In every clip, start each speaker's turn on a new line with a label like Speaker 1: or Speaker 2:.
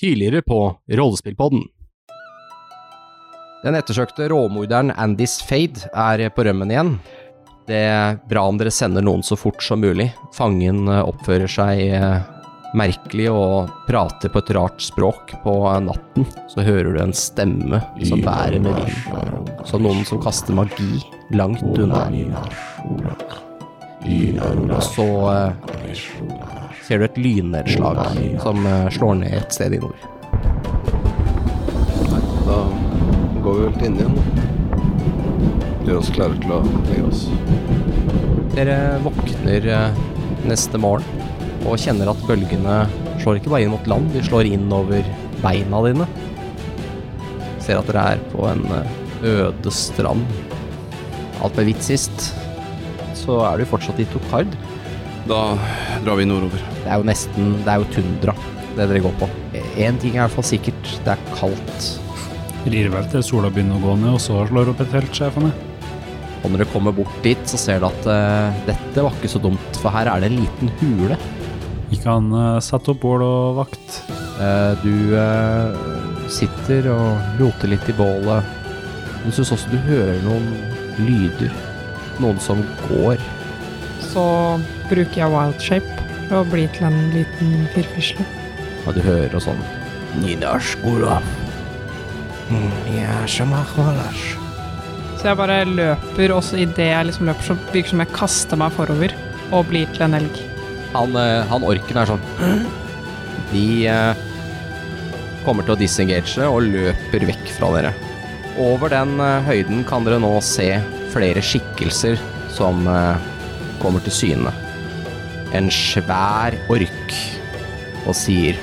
Speaker 1: tidligere på Rollespillpodden.
Speaker 2: Den ettersøkte råmorderen Andys Fade er på rømmen igjen. Det er bra om dere sender noen så fort som mulig. Fangen eh, oppfører seg eh, merkelig og prater på et rart språk på eh, natten. Så hører du en stemme som bærer med vind, som noen som kaster magi langt unna. Og så eh, ser du et lynnedslag som eh, slår ned et sted i nord.
Speaker 3: Da går vi vel til Indien. Gjør oss klare til å legge oss.
Speaker 2: Dere våkner eh, neste morgen og kjenner at bølgene slår ikke bare inn mot land, de slår inn over beina dine. Ser at dere er på en eh, øde strand. Alt ble hvitt sist, så er du fortsatt i Tokard.
Speaker 3: Da drar vi nordover.
Speaker 2: Det er jo nesten Det er jo tundra, det dere går på. Én ting er i hvert fall sikkert, det er kaldt.
Speaker 4: Rir vel til sola begynner å gå ned, og så slår opp et felt, ser jeg for meg.
Speaker 2: Og når dere kommer bort dit, så ser dere at eh, dette var ikke så dumt, for her er det en liten hule.
Speaker 4: Ikke han uh, sette opp bål og vakt?
Speaker 2: Eh, Du eh, sitter og roter litt i bålet. Du syns også du hører noen lyder. Noen som går.
Speaker 5: Så bruker jeg wild shape for å bli til en liten firfisle.
Speaker 2: Og du hører og sånn
Speaker 5: Så jeg bare løper, og så idet jeg liksom løper, så virker det som jeg kaster meg forover og blir til en elg.
Speaker 2: Han, eh, han orken er sånn De eh, kommer til å disengage og løper vekk fra dere. Over den eh, høyden kan dere nå se flere skikkelser som eh, kommer til syne. En svær ork og sier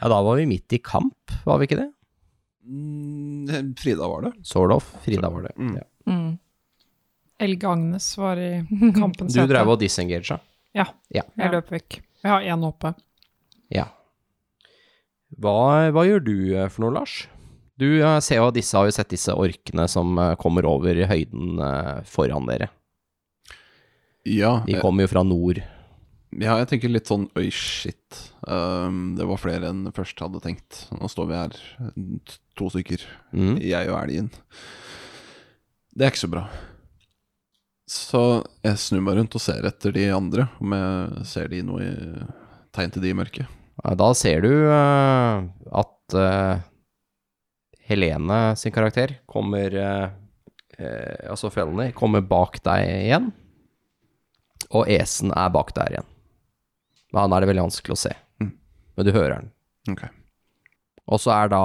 Speaker 2: Ja, da var vi midt i kamp, var vi ikke det?
Speaker 3: Mm, Frida var det.
Speaker 2: Sort of. Frida var det.
Speaker 3: Mm.
Speaker 2: Ja.
Speaker 5: Elg-Agnes var i kampens
Speaker 2: Du drev og disengagea.
Speaker 5: Ja.
Speaker 2: Ja.
Speaker 5: Jeg løp vekk. Jeg har én hoppe.
Speaker 2: ja. Hva, hva gjør du eh, for noe, Lars? Du eh, ser jo at disse har jo sett disse orkene som eh, kommer over i høyden eh, foran dere.
Speaker 3: Ja, eh,
Speaker 2: De kommer jo fra nord.
Speaker 3: ja, jeg tenker litt sånn oi, shit. Um, det var flere enn jeg først hadde tenkt. Nå står vi her, t- to stykker.
Speaker 2: Mm.
Speaker 3: Jeg og elgen. Det er ikke så bra. Så jeg snur meg rundt og ser etter de andre, om jeg ser de noe i tegn til de i mørket.
Speaker 2: Ja, Da ser du eh, at eh, Helene sin karakter kommer eh, eh, Altså Felony kommer bak deg igjen. Og Esen er bak der igjen. Men han er det veldig vanskelig å se.
Speaker 3: Mm.
Speaker 2: Men du hører han.
Speaker 3: Ok.
Speaker 2: Og så er da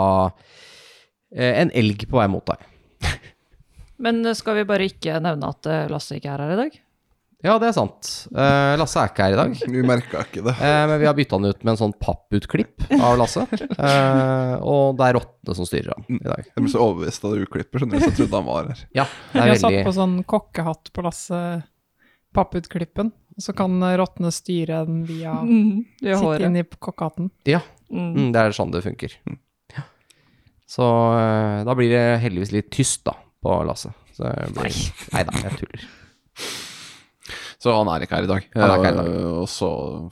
Speaker 2: eh, en elg på vei mot deg.
Speaker 6: Men eh, skal vi bare ikke nevne at eh, Lasse ikke er her i dag?
Speaker 2: Ja, det er sant. Eh, Lasse er ikke her i dag.
Speaker 3: Vi merka ikke det.
Speaker 2: Eh, men vi har bytta han ut med en sånn papputklipp av Lasse. Eh, og det er rottene som styrer han i dag.
Speaker 3: Jeg ble så overbevist av det uklippet, skjønner du, så jeg trodde han var her.
Speaker 2: Ja, det
Speaker 5: Vi
Speaker 2: er
Speaker 5: har satt
Speaker 2: veldig
Speaker 5: på sånn kokkehatt på Lasse Papputklippen, og så kan rottene styre den via
Speaker 6: Vi
Speaker 5: Sitte
Speaker 6: har håret.
Speaker 5: inn i kokkehatten.
Speaker 2: Ja,
Speaker 6: Mm.
Speaker 2: Mm, det er sånn det funker. Ja. Så eh, da blir det heldigvis litt tyst, da, på Lasse. Så det blir... Nei da, jeg tuller.
Speaker 3: Så han er ikke her i dag.
Speaker 2: Han er ikke her i dag.
Speaker 3: Eh, Og så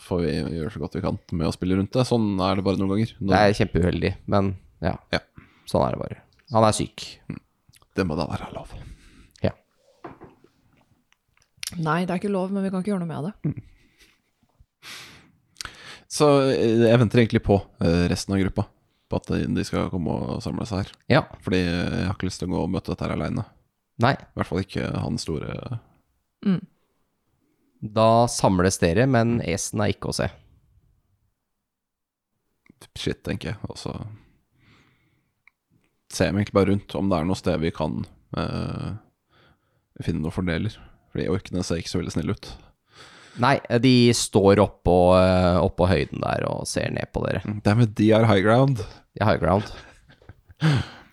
Speaker 3: får vi gjøre så godt vi kan med å spille rundt det. Sånn er det bare noen ganger. Nå,
Speaker 2: Det er kjempeuheldig, men ja.
Speaker 3: Ja.
Speaker 2: Sånn er det bare. Han er syk.
Speaker 3: det må da være lov.
Speaker 2: Ja.
Speaker 6: Nei, det er ikke lov, men vi kan ikke gjøre noe med det.
Speaker 3: Så eh, jeg venter egentlig på eh, resten av gruppa, på at de skal komme og samle seg her.
Speaker 2: Ja.
Speaker 3: Fordi jeg har ikke lyst til å gå og møte dette her aleine.
Speaker 2: Nei.
Speaker 3: I hvert fall ikke han store
Speaker 2: Da samles dere, men Esen er ikke å se.
Speaker 3: shit, tenker jeg. Og så ser jeg meg egentlig bare rundt om det er noe sted vi kan eh, finne noen fordeler. Fordi orkene ser ikke så veldig snille ut.
Speaker 2: Nei, de står oppå, eh, oppå høyden der og ser ned på dere.
Speaker 3: Damn it, de Mm, er high ground.
Speaker 2: De har high ground.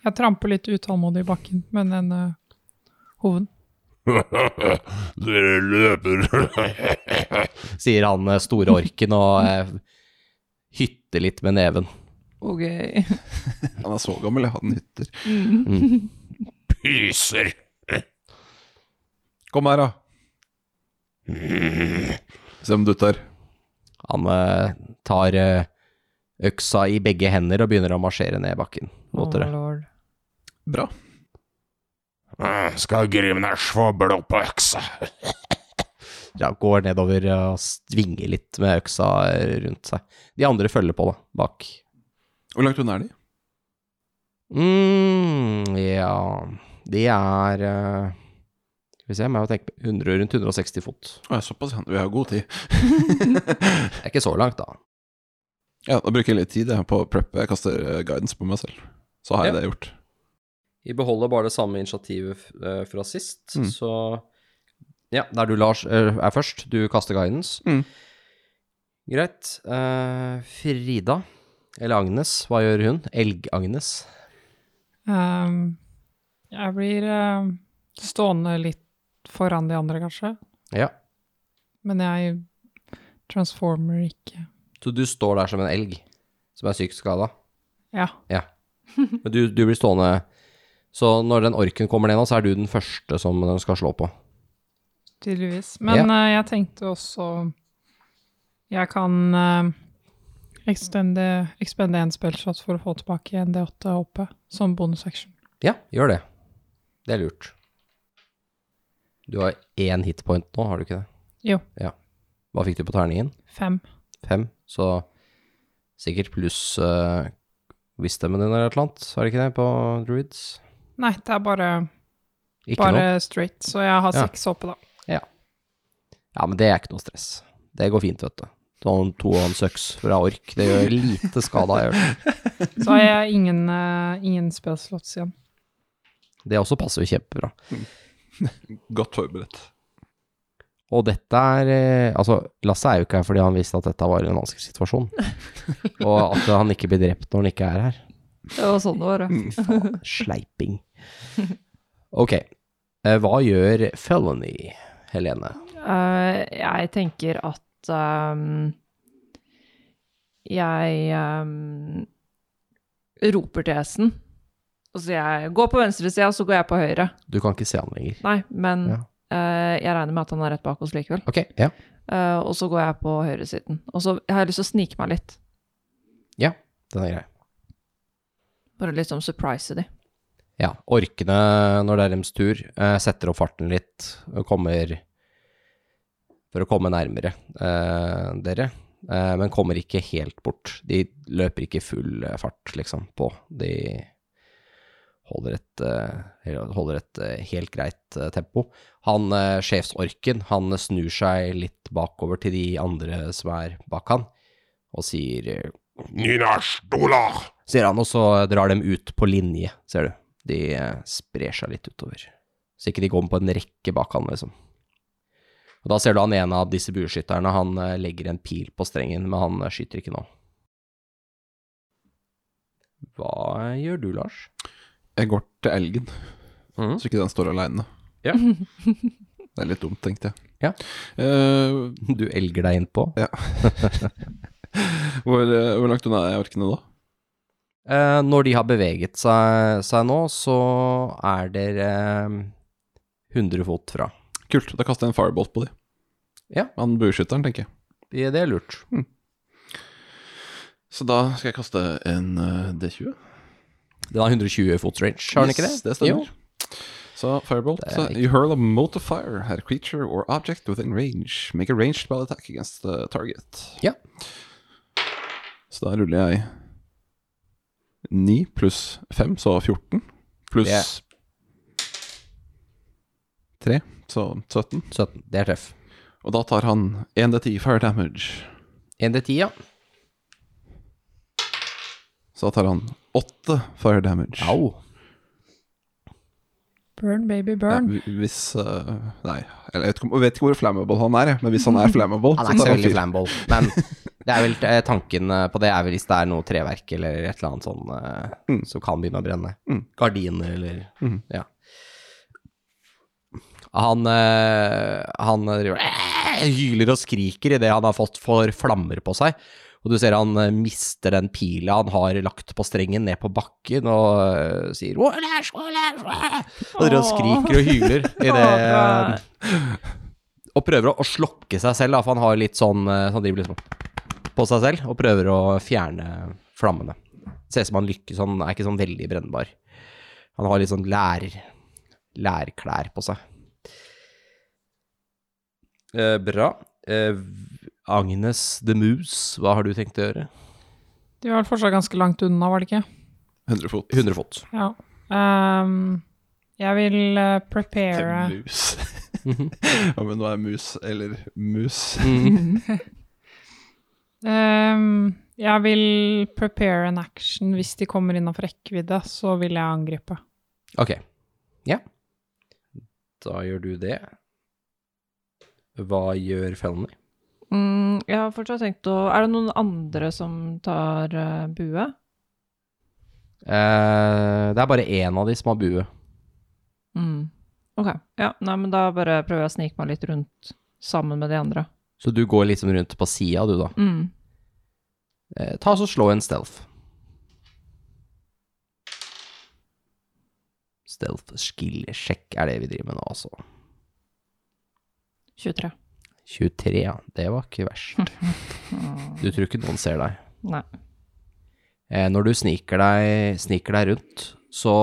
Speaker 5: Jeg tramper litt utålmodig i bakken, men en uh, eh, hoven.
Speaker 7: Dere løper.
Speaker 2: sier han eh, store orken og eh, hytter litt med neven.
Speaker 6: Ok.
Speaker 3: Han er så gammel, ja. Han hytter.
Speaker 7: Pyser.
Speaker 3: Kom her, da.
Speaker 7: Mm.
Speaker 3: Se om du tar.
Speaker 2: Han eh, tar eh, øksa i begge hender og begynner å marsjere ned bakken mot
Speaker 6: Oh,
Speaker 2: dere.
Speaker 6: lord.
Speaker 3: Bra.
Speaker 7: Ah, Skal Grimnæsj få blod på øksa?
Speaker 2: Ja, går nedover og svinger litt med øksa eh, rundt seg. De andre følger på, da, bak.
Speaker 3: Hvor langt unna er de?
Speaker 2: mm, ja De er eh, Skal vi se, jeg må jo tenke på 100, rundt 160 fot.
Speaker 3: Å, ja, såpass, ja. Vi har god tid.
Speaker 2: Det er ikke så langt, da.
Speaker 3: Ja, Da bruker jeg litt tid jeg, på å preppe. Jeg kaster eh, guidance på meg selv. Så har jeg
Speaker 2: Ja.
Speaker 3: det gjort.
Speaker 2: Vi beholder bare det samme initiativet eh, fra sist,
Speaker 3: Mm.
Speaker 2: så Ja, der du, Lars, eh, er først. Du kaster guidance.
Speaker 3: Mm.
Speaker 2: Greit. Eh, Frida, eller Agnes, hva gjør hun? Elg-Agnes.
Speaker 5: Ehm, jeg blir ehm, stående litt foran de andre, kanskje.
Speaker 2: Ja.
Speaker 5: Men jeg transformer ikke.
Speaker 2: Så du står der som en elg som er sykt skada?
Speaker 5: Ja.
Speaker 2: Ja. Men du, du blir stående Så når den orken kommer ned nå, så er du den første som den skal slå på.
Speaker 5: Tydeligvis. Men eh, jeg tenkte også Jeg kan uh, extende, expende en spellshot for å få tilbake en D8 HP som bonusaction.
Speaker 2: Ja, gjør det. Det er lurt. Du har én hitpoint nå, har du ikke det?
Speaker 5: Jo.
Speaker 2: Ja. Hva fikk du på terningen?
Speaker 5: Fem.
Speaker 2: Fem? Så sikkert pluss uh, wisdomen din eller et eller annet, er det ikke det, på druids?
Speaker 5: Nei, det er bare,
Speaker 2: Ikke
Speaker 5: bare
Speaker 2: noe?
Speaker 5: straight, så jeg har
Speaker 2: Ja.
Speaker 5: seks HP, da.
Speaker 2: Ja, men det er ikke noe stress. Det går fint, vet du. Sånn to og en søks fra ork, det gjør lite skade. Jeg gjør det.
Speaker 5: Så har jeg ingen, uh, ingen spellslots igjen.
Speaker 2: det også passer jo kjempebra.
Speaker 3: Godt forberedt.
Speaker 2: Og dette er eh, Altså, Lasse er jo ikke her fordi han visste at dette var en vanskelig situasjon. Og at han ikke blir drept når han ikke er her.
Speaker 6: Det var sånn det var, ja.
Speaker 2: Fy faen, sleiping. Ok. eh, Hva gjør Felony, Helene?
Speaker 6: Eh, jeg tenker at ehm, jeg ehm, roper til hesten. Og så jeg går på venstresida, og så går jeg på høyre.
Speaker 2: Du kan ikke se han lenger.
Speaker 6: Nei, men eh, jeg regner med at han er rett bak oss likevel.
Speaker 2: Ok, ja.
Speaker 6: Eh, og så går jeg på høyresiden. Og så har jeg lyst til å snike meg litt.
Speaker 2: Den er grei.
Speaker 6: Bare litt sånn surprise de.
Speaker 2: Ja. Orkene, når det er deres tur, eh, setter opp farten litt og kommer For å komme nærmere eh, dere. Eh, men kommer ikke helt bort. De løper ikke full eh, fart, liksom, på. De holder et, eh, holder et eh, helt greit eh, tempo. Han eh, sjefsorken, han snur seg litt bakover til de andre som er bak han, og sier eh,
Speaker 7: Nynasj dolar.
Speaker 2: Ser han, og så drar dem ut på linje, ser du. De eh, sprer seg litt utover. Så ikke de kommer på en rekke bak han, liksom. Og da ser du han ene av disse bueskytterne, han eh, legger en pil på strengen, men han eh, skyter ikke nå. Hva gjør du, Lars?
Speaker 3: Jeg går til elgen, så ikke den står aleine.
Speaker 2: Ja.
Speaker 3: Det er litt dumt, tenkte jeg.
Speaker 2: Ja.
Speaker 3: Eh,
Speaker 2: Du elger deg innpå.
Speaker 3: hvor, eh, hvor langt unna er orkene da?
Speaker 2: Eh, når de har beveget seg, seg nå, så er dere eh, 100 fot fra.
Speaker 3: Kult. Da kaster jeg en firebolt på de.
Speaker 2: Ja.
Speaker 3: Han bueskytteren, tenker jeg.
Speaker 2: Det er lurt.
Speaker 3: Så da skal jeg kaste en eh, D20.
Speaker 2: Den har 120 fots range, har den ikke det?
Speaker 3: Yes, det
Speaker 2: Jo.
Speaker 3: stemmer. Så firebolt
Speaker 2: Det er
Speaker 3: så,
Speaker 2: riktig.
Speaker 3: You hurl a mote of fire at a creature or object within range. Make a ranged spell attack against the target.
Speaker 2: Ja.
Speaker 3: Så da ruller jeg 9 pluss 5, så 14. Pluss
Speaker 2: Det
Speaker 3: 3, så 17.
Speaker 2: 17. Det er treff.
Speaker 3: Og da tar han 1D10 fire damage.
Speaker 2: 1D10, ja.
Speaker 3: Så da tar han 8 fire damage.
Speaker 2: Au.
Speaker 5: Burn, baby,
Speaker 3: Ja,
Speaker 5: burn.
Speaker 3: hvi- hvis eh, Nei, jeg vet, ikke om- jeg vet ikke hvor flammable han er, jeg, men hvis han er flammable,
Speaker 2: Han er ikke
Speaker 3: tar
Speaker 2: så veldig
Speaker 3: fire.
Speaker 2: flamball, men det er vel eh, tanken eh, på det er vel hvis det er noe treverk eller et eller annet sånn eh, Mm. som kan begynne å brenne. Gardiner eller Ja. Han, eh, han driver, eh, hyler og skriker idet han har fått for flammer på seg. Og du ser han eh, mister den pila han har lagt på strengen ned på bakken og eh, sier «Olash, olash, olash!» Og driver og
Speaker 6: Åh.
Speaker 2: skriker og hyler i
Speaker 6: Åh,
Speaker 2: det Og prøver å, å slokke seg selv, da, for han har litt sånn eh, så Han driver liksom på seg selv og prøver å fjerne flammene. Ser ut som han lykkes, han er ikke sånn veldig brennbar. Han har litt sånn lær, lærklær på seg. Eh, bra. Eh, v- Agnes the Moose, hva har du tenkt å gjøre?
Speaker 5: De var vel fortsatt ganske langt unna, var det ikke?
Speaker 3: 100 fot.
Speaker 2: 100 fot.
Speaker 5: Ja. Ehm, jeg vil eh, prepare
Speaker 3: Til mus.
Speaker 2: Mhm.
Speaker 3: ja, men nå er mus eller mus.
Speaker 5: Ehm, Jeg vil prepare an action. Hvis de kommer innenfor rekkevidde, så vil jeg angripe.
Speaker 2: Ok. Ja. Da gjør du det. Hva gjør Felony?
Speaker 6: Mm, jeg har fortsatt tenkt å Er det noen andre som tar eh, bue?
Speaker 2: Eh, det er bare én av de som har bue.
Speaker 6: Mm. Ok. Ja, nei, men da bare prøver jeg å snike meg litt rundt sammen med de andre.
Speaker 2: Så du går liksom rundt på sida, du, da.
Speaker 6: Mm.
Speaker 2: Eh, ta oss og slå en stealth. Stealth skill check er det vi driver med nå, altså.
Speaker 6: 23.
Speaker 2: 23, ja. Det var ikke verst. Du tror ikke noen ser deg.
Speaker 6: Nei.
Speaker 2: Eh, når du sniker deg, sniker deg rundt, så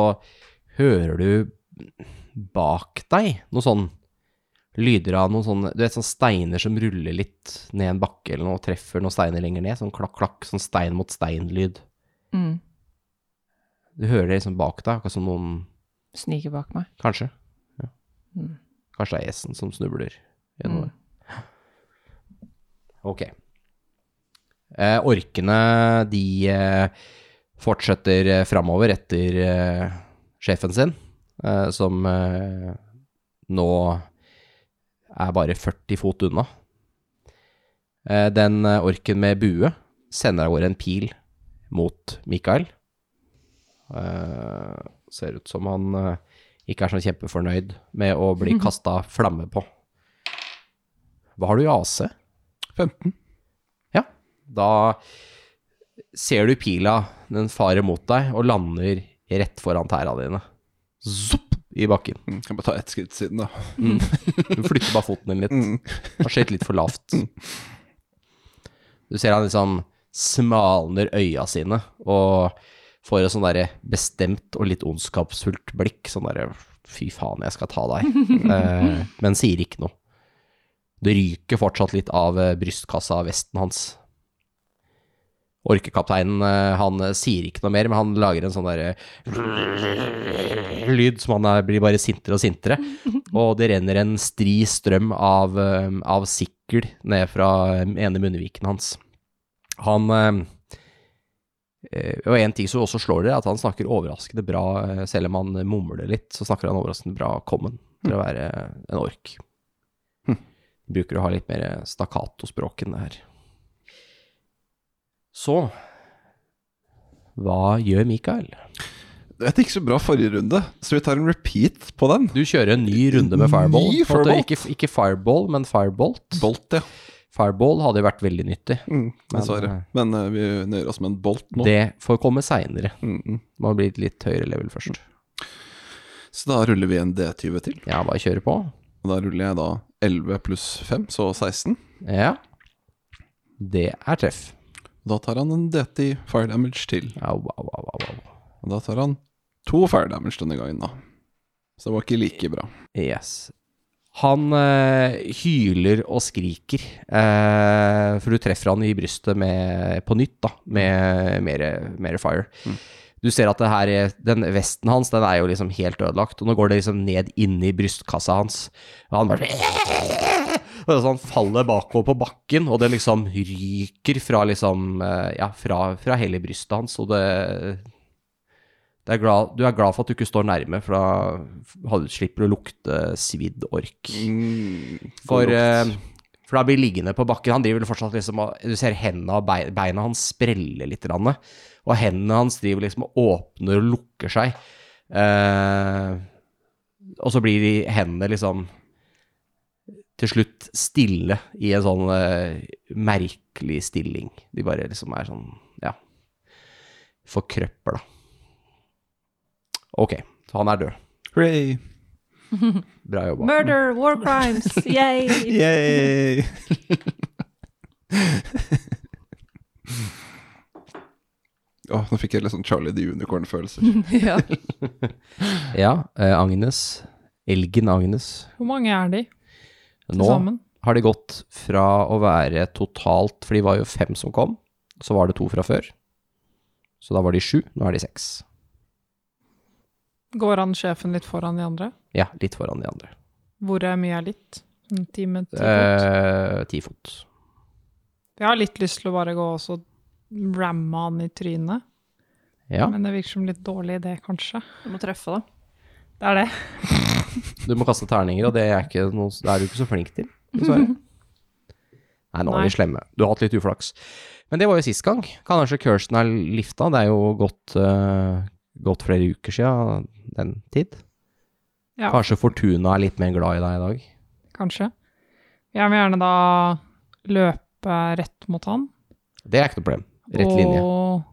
Speaker 2: hører du bak deg noe sånn lyder av noen sånne, du vet sånne steiner som ruller litt ned en bakke eller noe, og treffer noen steiner lenger ned, sånn klakk, klakk, sånn stein mot stein-lyd.
Speaker 6: Mm.
Speaker 2: Du hører det liksom bak deg, akkurat som noen,
Speaker 6: Sniker bak meg.
Speaker 2: kanskje. Ja.
Speaker 6: Mm.
Speaker 2: Kanskje det er gjessen som snubler
Speaker 6: Mm.
Speaker 2: gjennom det. Ok. Eh, orkene, de eh, fortsetter eh, framover etter eh, sjefen sin, eh, som eh, nå er bare 40 fot unna. Eh, den eh, orken med bue sender av gårde en pil mot Mikael. Eh, ser ut som han eh, ikke er sånn kjempefornøyd med å bli kasta flamme på. Hva har du i AC?
Speaker 3: 15.
Speaker 2: Ja, da ser du pila, den farer mot deg og lander rett foran tæra dine. Zopp! I bakken.
Speaker 3: Mm, Kan bare ta ett skritt siden, da.
Speaker 2: Du flytter bare foten din litt. Han skøyt litt for lavt. Du ser han liksom smalner øya sine og får et sånn derre bestemt og litt ondskapsfullt blikk. Sånn derre fy faen, jeg skal ta deg. Eh, men sier ikke noe. Det ryker fortsatt litt av eh, brystkassa av vesten hans. Orkekapteinen eh, han eh, sier ikke noe mer, men han lager en sånn derre lyd som han er, blir bare sintere og sintere. Og det renner en stri strøm av, eh, av sikkel ned fra eh, ene munnviken hans. Han eh, eh, Og en ting som også slår dere, er at han snakker overraskende bra, eh, selv om han mumler litt, så snakker han overraskende bra common til å være en ork. Bruker å ha litt mer stakkato-språk enn det her. Så Hva gjør Mikael?
Speaker 3: Det gikk ikke så bra forrige runde, så vi tar en repeat på den.
Speaker 2: Du kjører en ny runde med
Speaker 3: Ny
Speaker 2: fireball. På en måte.
Speaker 3: firebolt?
Speaker 2: Ikke, ikke fireball, men firebolt.
Speaker 3: Bolt, ja.
Speaker 2: Fireball hadde jo vært veldig nyttig.
Speaker 3: Mm, dessverre. Men eh, vi nøyer oss med en bolt nå.
Speaker 2: Det får komme seinere.
Speaker 3: Mm, mm.
Speaker 2: Må bli et litt høyere level først.
Speaker 3: Så da ruller vi en D20 til.
Speaker 2: Ja, bare kjøre på.
Speaker 3: Og da ruller jeg da 11 pluss 5, så 16.
Speaker 2: Ja. Det er treff.
Speaker 3: Da tar han en D10 fire damage til.
Speaker 2: Au, au, au, au, au.
Speaker 3: Og da tar han to fire damage denne gangen, da. Så det var ikke like bra.
Speaker 2: Yes. Han eh, hyler og skriker, eh, for du treffer han i brystet med, på nytt, da, med mer, mer fire. Du ser at det her, er- den vesten hans den er jo liksom helt ødelagt, og nå går det liksom ned inni brystkassa hans. Og han bare og så Han faller bakover på bakken, og det liksom ryker fra liksom eh, Ja, fra, fra hele brystet hans, og det det er glad, du er glad for at du ikke står nærme, for da hadde- slipper du å lukte svidd ork.
Speaker 3: Mm,
Speaker 2: for, eh, for da blir liggende på bakken. Han driver vel fortsatt liksom og Du ser hendene og bein- beina hans sprelle litt. Rann, og hendene hans driver liksom og åpner og lukker seg. Eh, og så blir de hendene liksom til slutt stille i en sånn eh, merkelig stilling. De bare liksom er sånn, ja, forkrøpper da. Ok, så han er død.
Speaker 3: Hooray!
Speaker 2: Bra jobba.
Speaker 6: Murder, war crimes, yay!
Speaker 3: Yay! Åh, nå fikk jeg litt sånn Charlie the Unicorn-følelser.
Speaker 6: ja.
Speaker 2: Ja, eh, Agnes, elgen Agnes.
Speaker 5: Hvor mange er de til
Speaker 2: Nå
Speaker 5: sammen?
Speaker 2: har de gått fra å være totalt, for de var jo fem som kom, så var det to fra før. Så da var de sju, nå er de seks.
Speaker 5: Går han sjefen litt foran de andre?
Speaker 2: Ja, litt foran de andre.
Speaker 5: Hvor er mye er litt? En time, ti fot?
Speaker 2: Eh, Ti fot.
Speaker 5: Jeg har litt lyst til å bare gå og så ramme han i trynet,
Speaker 2: Ja,
Speaker 5: men det virker som litt dårlig idé, kanskje.
Speaker 6: Du må treffe, da.
Speaker 5: Det er det.
Speaker 2: du må kaste terninger, og det er, ikke noe, det er du ikke så flink til, dessverre. Nei, nå er
Speaker 5: Nei.
Speaker 2: de slemme. Du har hatt litt uflaks. Men det var jo sist gang. Kanskje Kirsten er lifta. Det er jo gått, eh, gått flere uker sia den tid.
Speaker 5: Ja.
Speaker 2: Kanskje Fortuna er litt mer glad i deg i dag.
Speaker 5: Kanskje. Jeg vil gjerne da løpe rett mot han.
Speaker 2: Det er ikke noe problem. Rett linje.
Speaker 5: Og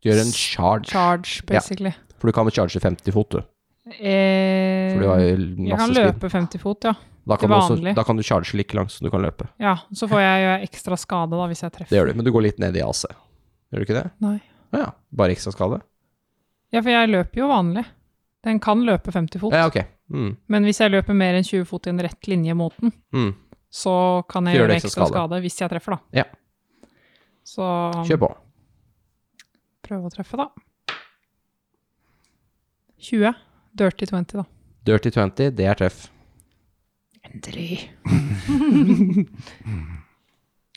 Speaker 2: Du gjør en charge,
Speaker 5: charge, basically.
Speaker 2: for du kan vel charge 50 fot, du.
Speaker 5: Eh,
Speaker 2: For du har jo
Speaker 5: jeg kan
Speaker 2: masse speed.
Speaker 5: løpe 50 fot, ja.
Speaker 2: Da kan,
Speaker 5: til
Speaker 2: du også,
Speaker 5: vanlig.
Speaker 2: da kan du charge like langt som du kan løpe.
Speaker 5: ja. Så får jeg gjøre ekstra skade da, hvis jeg treffer.
Speaker 2: Det gjør du, men du går litt ned i AC. Gjør du ikke det?
Speaker 5: Nei.
Speaker 2: Ja, bare ekstra skade?
Speaker 5: Ja, for jeg løper jo vanlig. Den kan løpe 50 fot.
Speaker 2: Ja, ok. Mm.
Speaker 5: Men hvis jeg løper mer enn 20 fot i en rett linje mot den,
Speaker 2: Mm.
Speaker 5: så kan jeg
Speaker 2: Så gjør
Speaker 5: gjøre
Speaker 2: det
Speaker 5: ekstra skade. hvis jeg treffer, da.
Speaker 2: Ja.
Speaker 5: Så
Speaker 2: Kjør på.
Speaker 5: prøve å treffe, da. 20. Dirty 20, da.
Speaker 2: Dirty 20, det er treff.
Speaker 5: Endelig.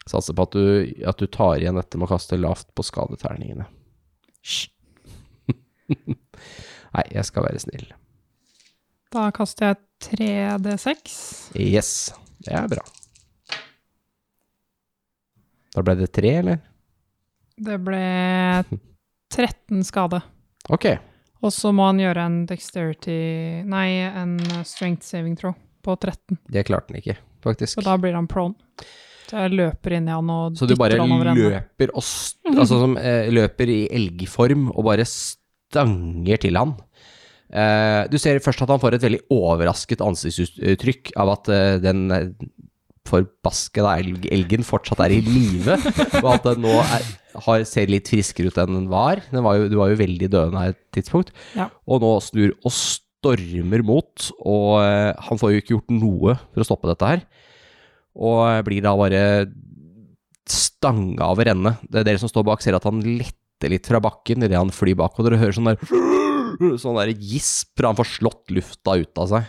Speaker 2: Satser på at du, at du tar igjen dette med å kaste lavt på skadeterningene.
Speaker 5: Hysj.
Speaker 2: Nei, jeg skal være snill.
Speaker 5: Da kaster jeg 3D6.
Speaker 2: Yes, det er bra. Da ble det tre, eller?
Speaker 5: Det ble 13 skade.
Speaker 2: Ok.
Speaker 5: Og så må han gjøre en dexterity Nei, en eh, strength saving throw på 13.
Speaker 2: Det klarte han ikke, faktisk.
Speaker 5: Så da blir han prone. Så jeg løper inn i han og
Speaker 2: Så du bare
Speaker 5: dytter han over ende. Mhm.
Speaker 2: løper og st altså som, eh, løper i elgform og bare stanger til han. Eh, du ser først at han får et veldig overrasket ansiktsuttrykk av at eh, den eh, forbaskede elg elgen fortsatt er i live, og at den nå er, har, ser litt friskere ut enn den var. Den var jo, du var jo veldig døende her et tidspunkt.
Speaker 5: Ja.
Speaker 2: Og nå snur og stormer mot, og eh, han får jo ikke gjort noe for å stoppe dette her. Og eh, blir da bare stanga over ende. Det er dere som står bak, ser at han letter litt fra bakken idet han flyr bak, og dere hører sånn der Sånn der gisp fra han får slått lufta ut av seg.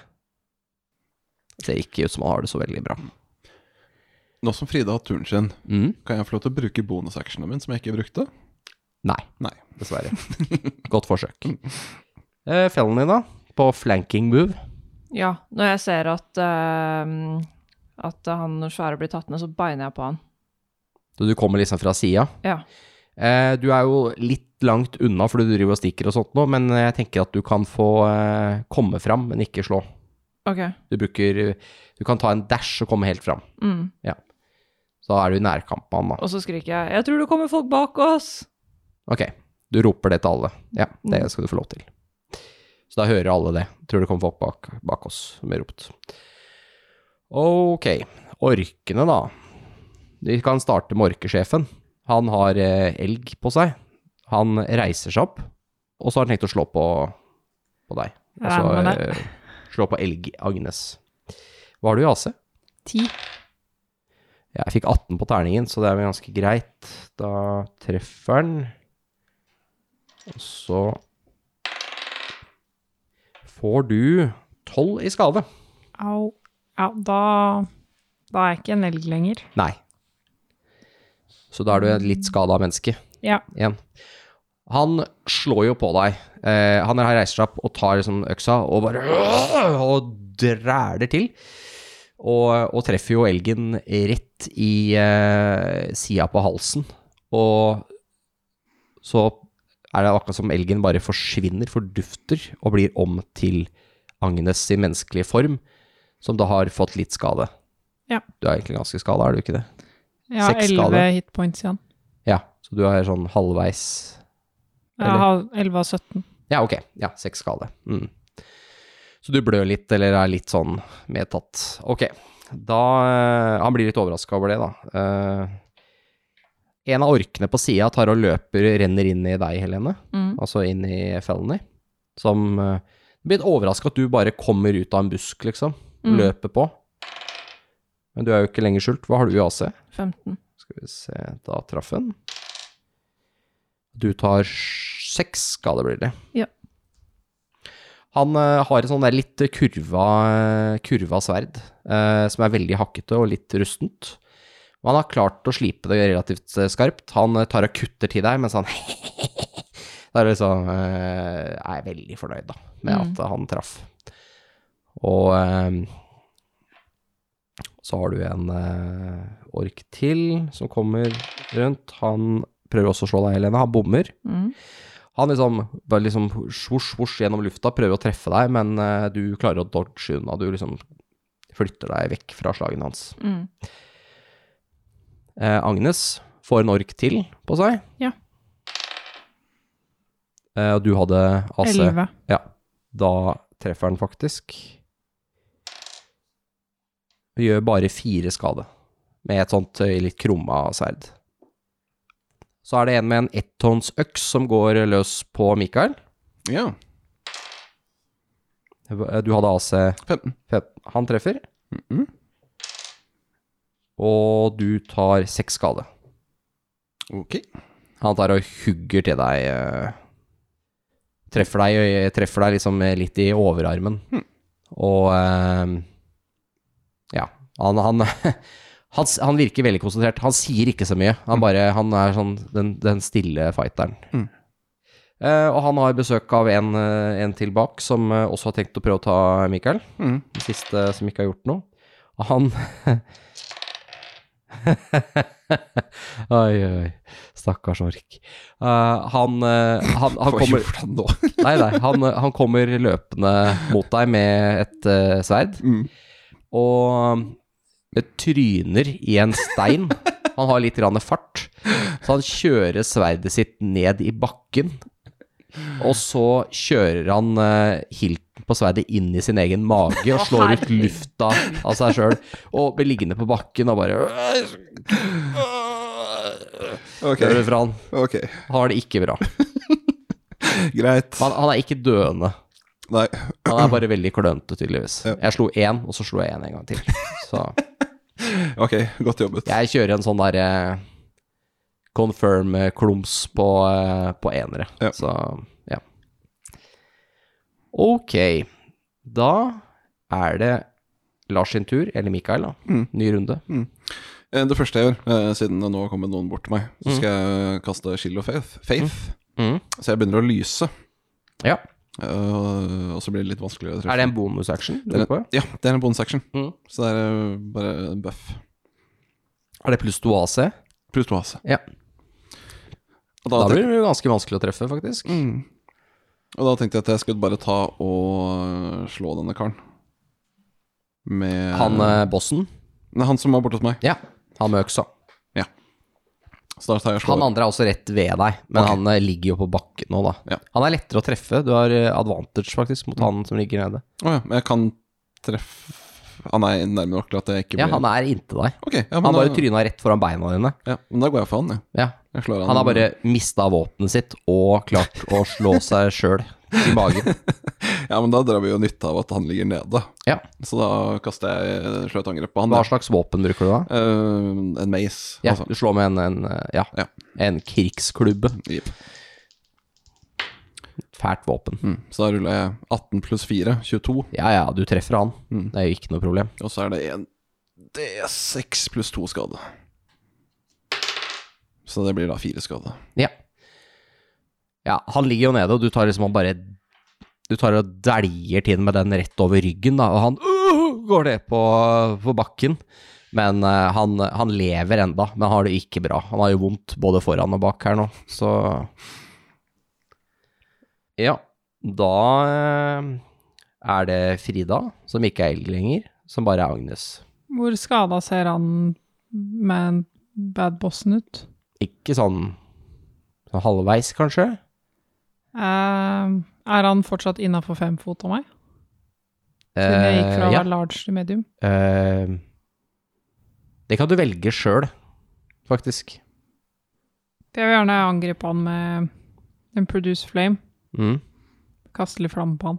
Speaker 2: Det ser ikke ut som han har det så veldig bra.
Speaker 3: Nå som Frida har hatt turen sin,
Speaker 2: Mm.
Speaker 3: kan jeg få lov til å bruke bonusactionen min, som jeg ikke brukte?
Speaker 2: Nei.
Speaker 3: Nei.
Speaker 2: Dessverre. Godt forsøk. Eh, Fellen din, da? På flanking move.
Speaker 6: ja. Når jeg ser at, eh, at han svære blir tatt ned, så beiner jeg på han.
Speaker 2: Så du kommer liksom fra sida.
Speaker 6: Ja.
Speaker 2: Eh, du er jo litt langt unna fordi du driver og stikker og sånt nå, men jeg tenker at du kan få eh, komme fram, men ikke slå.
Speaker 6: Ok.
Speaker 2: Du bruker Du kan ta en dash og komme helt fram.
Speaker 6: Mm.
Speaker 2: Så da er du i nærkamp med han, da.
Speaker 6: Og så skriker jeg 'Jeg tror det kommer folk bak oss'.
Speaker 2: Ok, du roper det til alle. Ja, det skal du få lov til. Så da hører alle det. Tror det kommer folk bak, bak oss som blir ropt. Ok, orkene da. Vi kan starte med orkesjefen. Han har eh, elg på seg. Han reiser seg opp, og så har han tenkt å slå på, på deg.
Speaker 5: Jeg
Speaker 2: Altså
Speaker 5: regner med det.
Speaker 2: eh, slå på elg-Agnes. Hva har du i AC?
Speaker 5: 10.
Speaker 2: Ja, jeg fikk 18 på terningen, så det er vel ganske greit. Da treffer den. Og så får du 12 i skade.
Speaker 5: Au. Ja, da Da er jeg ikke en elg lenger.
Speaker 2: Nei. Så da er du et litt skada menneske
Speaker 5: Ja.
Speaker 2: igjen. Han slår jo på deg. Eh, han her reiser seg opp og tar liksom øksa og bare Og dræler til. Og, og treffer jo elgen rett i eh, sida på halsen. Og så er det akkurat som elgen bare forsvinner, fordufter, og blir om til Agnes sin menneskelige form. som da har fått litt skade.
Speaker 5: Ja.
Speaker 2: Du er egentlig ganske skada, er du ikke det?
Speaker 5: Jeg har
Speaker 2: Seks
Speaker 5: elleve
Speaker 2: skader.
Speaker 5: hitpoints igjen.
Speaker 2: Ja, så du er sånn halvveis Eller?
Speaker 5: Jeg har elleve av 17.
Speaker 2: Ja, ok. Ja, seks skade. Mm. Så du blør litt, eller er litt sånn medtatt. Ok. Da eh, Han blir litt overraska over det, da. Eh, en av orkene på sida tar og løper, renner inn i deg, Helene.
Speaker 6: Mm.
Speaker 2: Altså inn i Felony. Som eh, blir overraska at du bare kommer ut av en busk, liksom.
Speaker 6: Mm.
Speaker 2: Løper på. Men du er jo ikke lenger skjult. Hva har du i AC?
Speaker 6: 15.
Speaker 2: Skal vi se, da traff hun. Du tar sj- seks skade, blir det.
Speaker 6: Ja.
Speaker 2: Han eh, har et sånn der litt kurva, kurva sverd, eh, som er veldig hakkete og litt rustent. Og han har klart å slipe det relativt eh, skarpt. Han eh, tar og kutter til deg, mens han Da er det liksom eh, Er veldig fornøyd, da, med
Speaker 6: Mm.
Speaker 2: at han traff. Og eh, så har du en eh, ork til som kommer rundt. Han prøver også å slå deg, Helene. Han bommer.
Speaker 6: Mm.
Speaker 2: Han liksom bare liksom svosj, svosj gjennom lufta, prøver å treffe deg, men eh, du klarer å dodge unna. Du liksom flytter deg vekk fra slagene hans.
Speaker 6: Mm.
Speaker 2: Eh, Agnes får en ork til på seg.
Speaker 5: Ja.
Speaker 2: Eh, og du hadde AC.
Speaker 5: Elleve.
Speaker 2: Ja, da treffer han faktisk. Og gjør bare fire skade, med et sånt eh, litt krumma sverd. Så er det en med en ettons øks som går løs på Mikael.
Speaker 3: Ja.
Speaker 2: eh, Du hadde AC
Speaker 3: 15.
Speaker 2: Fem- Han treffer,
Speaker 3: Mhm.
Speaker 2: og du tar seks skade.
Speaker 3: Ok.
Speaker 2: Han tar og hugger til deg eh, Treffer deg, eh, treffer deg liksom eh, litt i overarmen. Og eh, Ja. Han, han, han, s- han virker veldig konsentrert. Han sier ikke så mye. Han, bare, han er sånn den, den stille fighteren.
Speaker 3: Mm.
Speaker 2: Eh, og han har besøk av en, eh, en til bak, som eh, også har tenkt å prøve å ta Mikael.
Speaker 3: Mm.
Speaker 2: Den siste som ikke har gjort noe. Og han Oi, oi, stakkars ork. Eh, han, eh, han, han
Speaker 3: Hva
Speaker 2: kommer
Speaker 3: gjorde han nå?
Speaker 2: Nei, nei, han, eh, han kommer løpende mot deg med et eh, sverd.
Speaker 3: Mm.
Speaker 2: Og det tryner i en stein. Han har litt grann fart. Så han kjører sverdet sitt ned i bakken. Og så kjører han eh, hilten på sverdet inn i sin egen mage og slår ut
Speaker 6: herregud.
Speaker 2: lufta av seg sjøl. Og blir liggende på bakken og bare "Øh,
Speaker 3: Ok,
Speaker 2: Hører fra han.
Speaker 3: ok.
Speaker 2: Han har det ikke bra.
Speaker 3: Greit.
Speaker 2: Han, han er ikke døende.
Speaker 3: Nei.
Speaker 2: Han er bare veldig klønete, tydeligvis.
Speaker 3: Ja.
Speaker 2: Jeg slo én, og så slo jeg én en gang til. Så
Speaker 3: Ok, godt jobbet.
Speaker 2: jeg kjører en sånn derre confirm-klums på, eh, på enere.
Speaker 3: Ja.
Speaker 2: Så ja. Ok. Da er det Lars sin tur, eller Mikael, da.
Speaker 3: Mm.
Speaker 2: Ny runde.
Speaker 3: Eh, Det første jeg gjør, eh, siden det nå har kommet noen bort til meg, så skal jeg kaste Shield of Faith. faith.
Speaker 2: Mm.
Speaker 3: Så jeg begynner å lyse,
Speaker 2: Ja.
Speaker 3: eh, og så blir det litt vanskeligere å treffe.
Speaker 2: Er det en bonusaction du
Speaker 3: Det
Speaker 2: er
Speaker 3: er
Speaker 2: på?
Speaker 3: en- Ja, det er en bonus action.
Speaker 2: Mm.
Speaker 3: Så det er eh, bare en buff.
Speaker 2: Er det pluss to AC?
Speaker 3: Pluss to AC.
Speaker 2: Ja.
Speaker 3: Og
Speaker 2: Da
Speaker 3: da,
Speaker 2: blir det jo ganske vanskelig å treffe, faktisk.
Speaker 3: Mm. Og da tenkte jeg at jeg skulle bare ta og øh, slå denne karen. Med
Speaker 2: Han eh, bossen?
Speaker 3: Nei, han som var borte hos meg.
Speaker 2: Ja. Han med øksa.
Speaker 3: Så da tar jeg og slår.
Speaker 2: Han andre er også rett ved deg, men
Speaker 3: Ok.
Speaker 2: han eh, ligger jo på bakken nå, da.
Speaker 3: Ja.
Speaker 2: Han er lettere å treffe. Du har eh, advantage, faktisk, mot han som ligger nede.
Speaker 3: Å ja, men jeg kan treffe Ah, Han er nærme nok til at jeg ikke
Speaker 2: Ja,
Speaker 3: blir
Speaker 2: han er inntil deg.
Speaker 3: Ok, ja, men eh,
Speaker 2: Han bare
Speaker 3: da-
Speaker 2: tryna rett foran beina dine.
Speaker 3: Ja, men da går jeg for han, jeg.
Speaker 2: Ja.
Speaker 3: jeg slår han,
Speaker 2: Han har bare mista våpenet sitt og klart å slå seg sjøl i magen.
Speaker 3: Ja, men da drar vi jo nytte av at han ligger nede.
Speaker 2: Ja.
Speaker 3: Så da kaster jeg slår et angrep på han.
Speaker 2: Hva
Speaker 3: jeg.
Speaker 2: slags våpen bruker du da?
Speaker 3: Eh, en mace.
Speaker 2: Ja,
Speaker 3: altså.
Speaker 2: du slår med en, en, eh, ja,
Speaker 3: Ja.
Speaker 2: en krigsklubbe.
Speaker 3: Jepp.
Speaker 2: Fælt våpen.
Speaker 3: Mm. Så da ruller jeg 18 pluss 4, 22.
Speaker 2: Ja ja, du treffer han.
Speaker 3: Mm.
Speaker 2: Det er jo ikke noe problem.
Speaker 3: Og så er det en D6 pluss to skade. Så det blir da fire skade.
Speaker 2: Ja. ja. Han ligger jo nede, og du tar liksom han bare Du tar og dæljer til den med den rett over ryggen, da, og han «Åh!» går ned på, på bakken. Men eh, han, han lever enda, men har det ikke bra. Han har jo vondt både foran og bak her nå, så Ja, da eh, er det Frida, som ikke er eld lenger, som bare er Agnes.
Speaker 5: Hvor skada ser han med en bad bossen ut?
Speaker 2: Ikke sånn, sånn halvveis, kanskje?
Speaker 5: Eh, er han fortsatt innafor fem fot av meg? Siden jeg gikk fra å
Speaker 2: Eh, ja.
Speaker 5: være large til medium.
Speaker 2: Eh, det kan du velge sjøl, faktisk.
Speaker 5: For Jeg vil gjerne angripe han med en produce flame.
Speaker 2: Mm.
Speaker 5: Kaste litt flamme på han.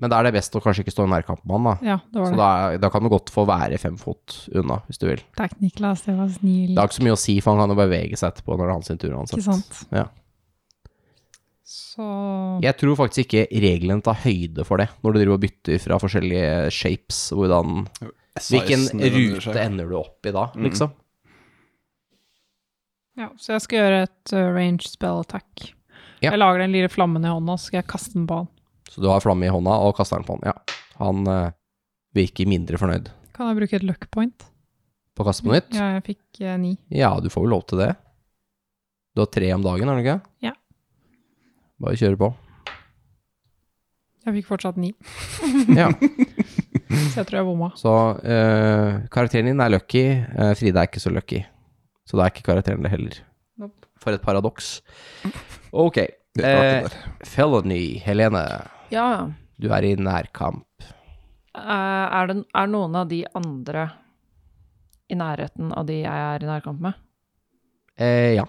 Speaker 2: Men da er det best å kanskje ikke stå i nærkamp med han, da.
Speaker 5: Ja, det var
Speaker 2: Så
Speaker 5: det.
Speaker 2: da, da kan du godt få være fem fot unna, hvis du vil.
Speaker 5: Takk, Niklas. Det var snilt.
Speaker 2: Det har ikke så mye å si, for han kan jo bevege seg etterpå når det er hans tur uansett.
Speaker 5: Ikke sant?
Speaker 2: Ja.
Speaker 5: Så
Speaker 2: Jeg tror faktisk ikke regelen tar høyde for det, når du driver og bytter fra forskjellige shapes, hvordan Hvilken
Speaker 3: Sizen endrer
Speaker 2: rute
Speaker 3: seg.
Speaker 2: ender du opp i da,
Speaker 3: Mm.
Speaker 2: liksom?
Speaker 5: Ja, så jeg skal gjøre et uh, range spell attack.
Speaker 2: Ja.
Speaker 5: Jeg lager den lille flammen i hånda, så skal jeg kaste den på han.
Speaker 2: Så du har flamme i hånda og kaster den på han. Ja. Han eh, virker mindre fornøyd
Speaker 5: Kan jeg bruke et luck point?
Speaker 2: på å kaste på nytt. Ja.
Speaker 5: Ja, jeg fikk eh, ni.
Speaker 2: du får vel lov til det. Du har tre om dagen, har du ikke?
Speaker 5: Ja.
Speaker 2: Bare kjøre på.
Speaker 5: Jeg fikk fortsatt ni,
Speaker 2: Ja.
Speaker 5: så jeg tror jeg bomma.
Speaker 2: Så eh, karakteren din er lucky, eh, Frida er ikke så lucky. Så da er ikke karakteren det heller.
Speaker 5: Nope.
Speaker 2: For et paradoks. Ok.
Speaker 3: Det er rart,
Speaker 2: Eh,
Speaker 3: det der.
Speaker 2: felony, Helene.
Speaker 6: Ja.
Speaker 2: Du er i nærkamp.
Speaker 6: Eh, Er, det, er noen av de andre i nærheten av de jeg er i nærkamp med?
Speaker 2: Eh, ja.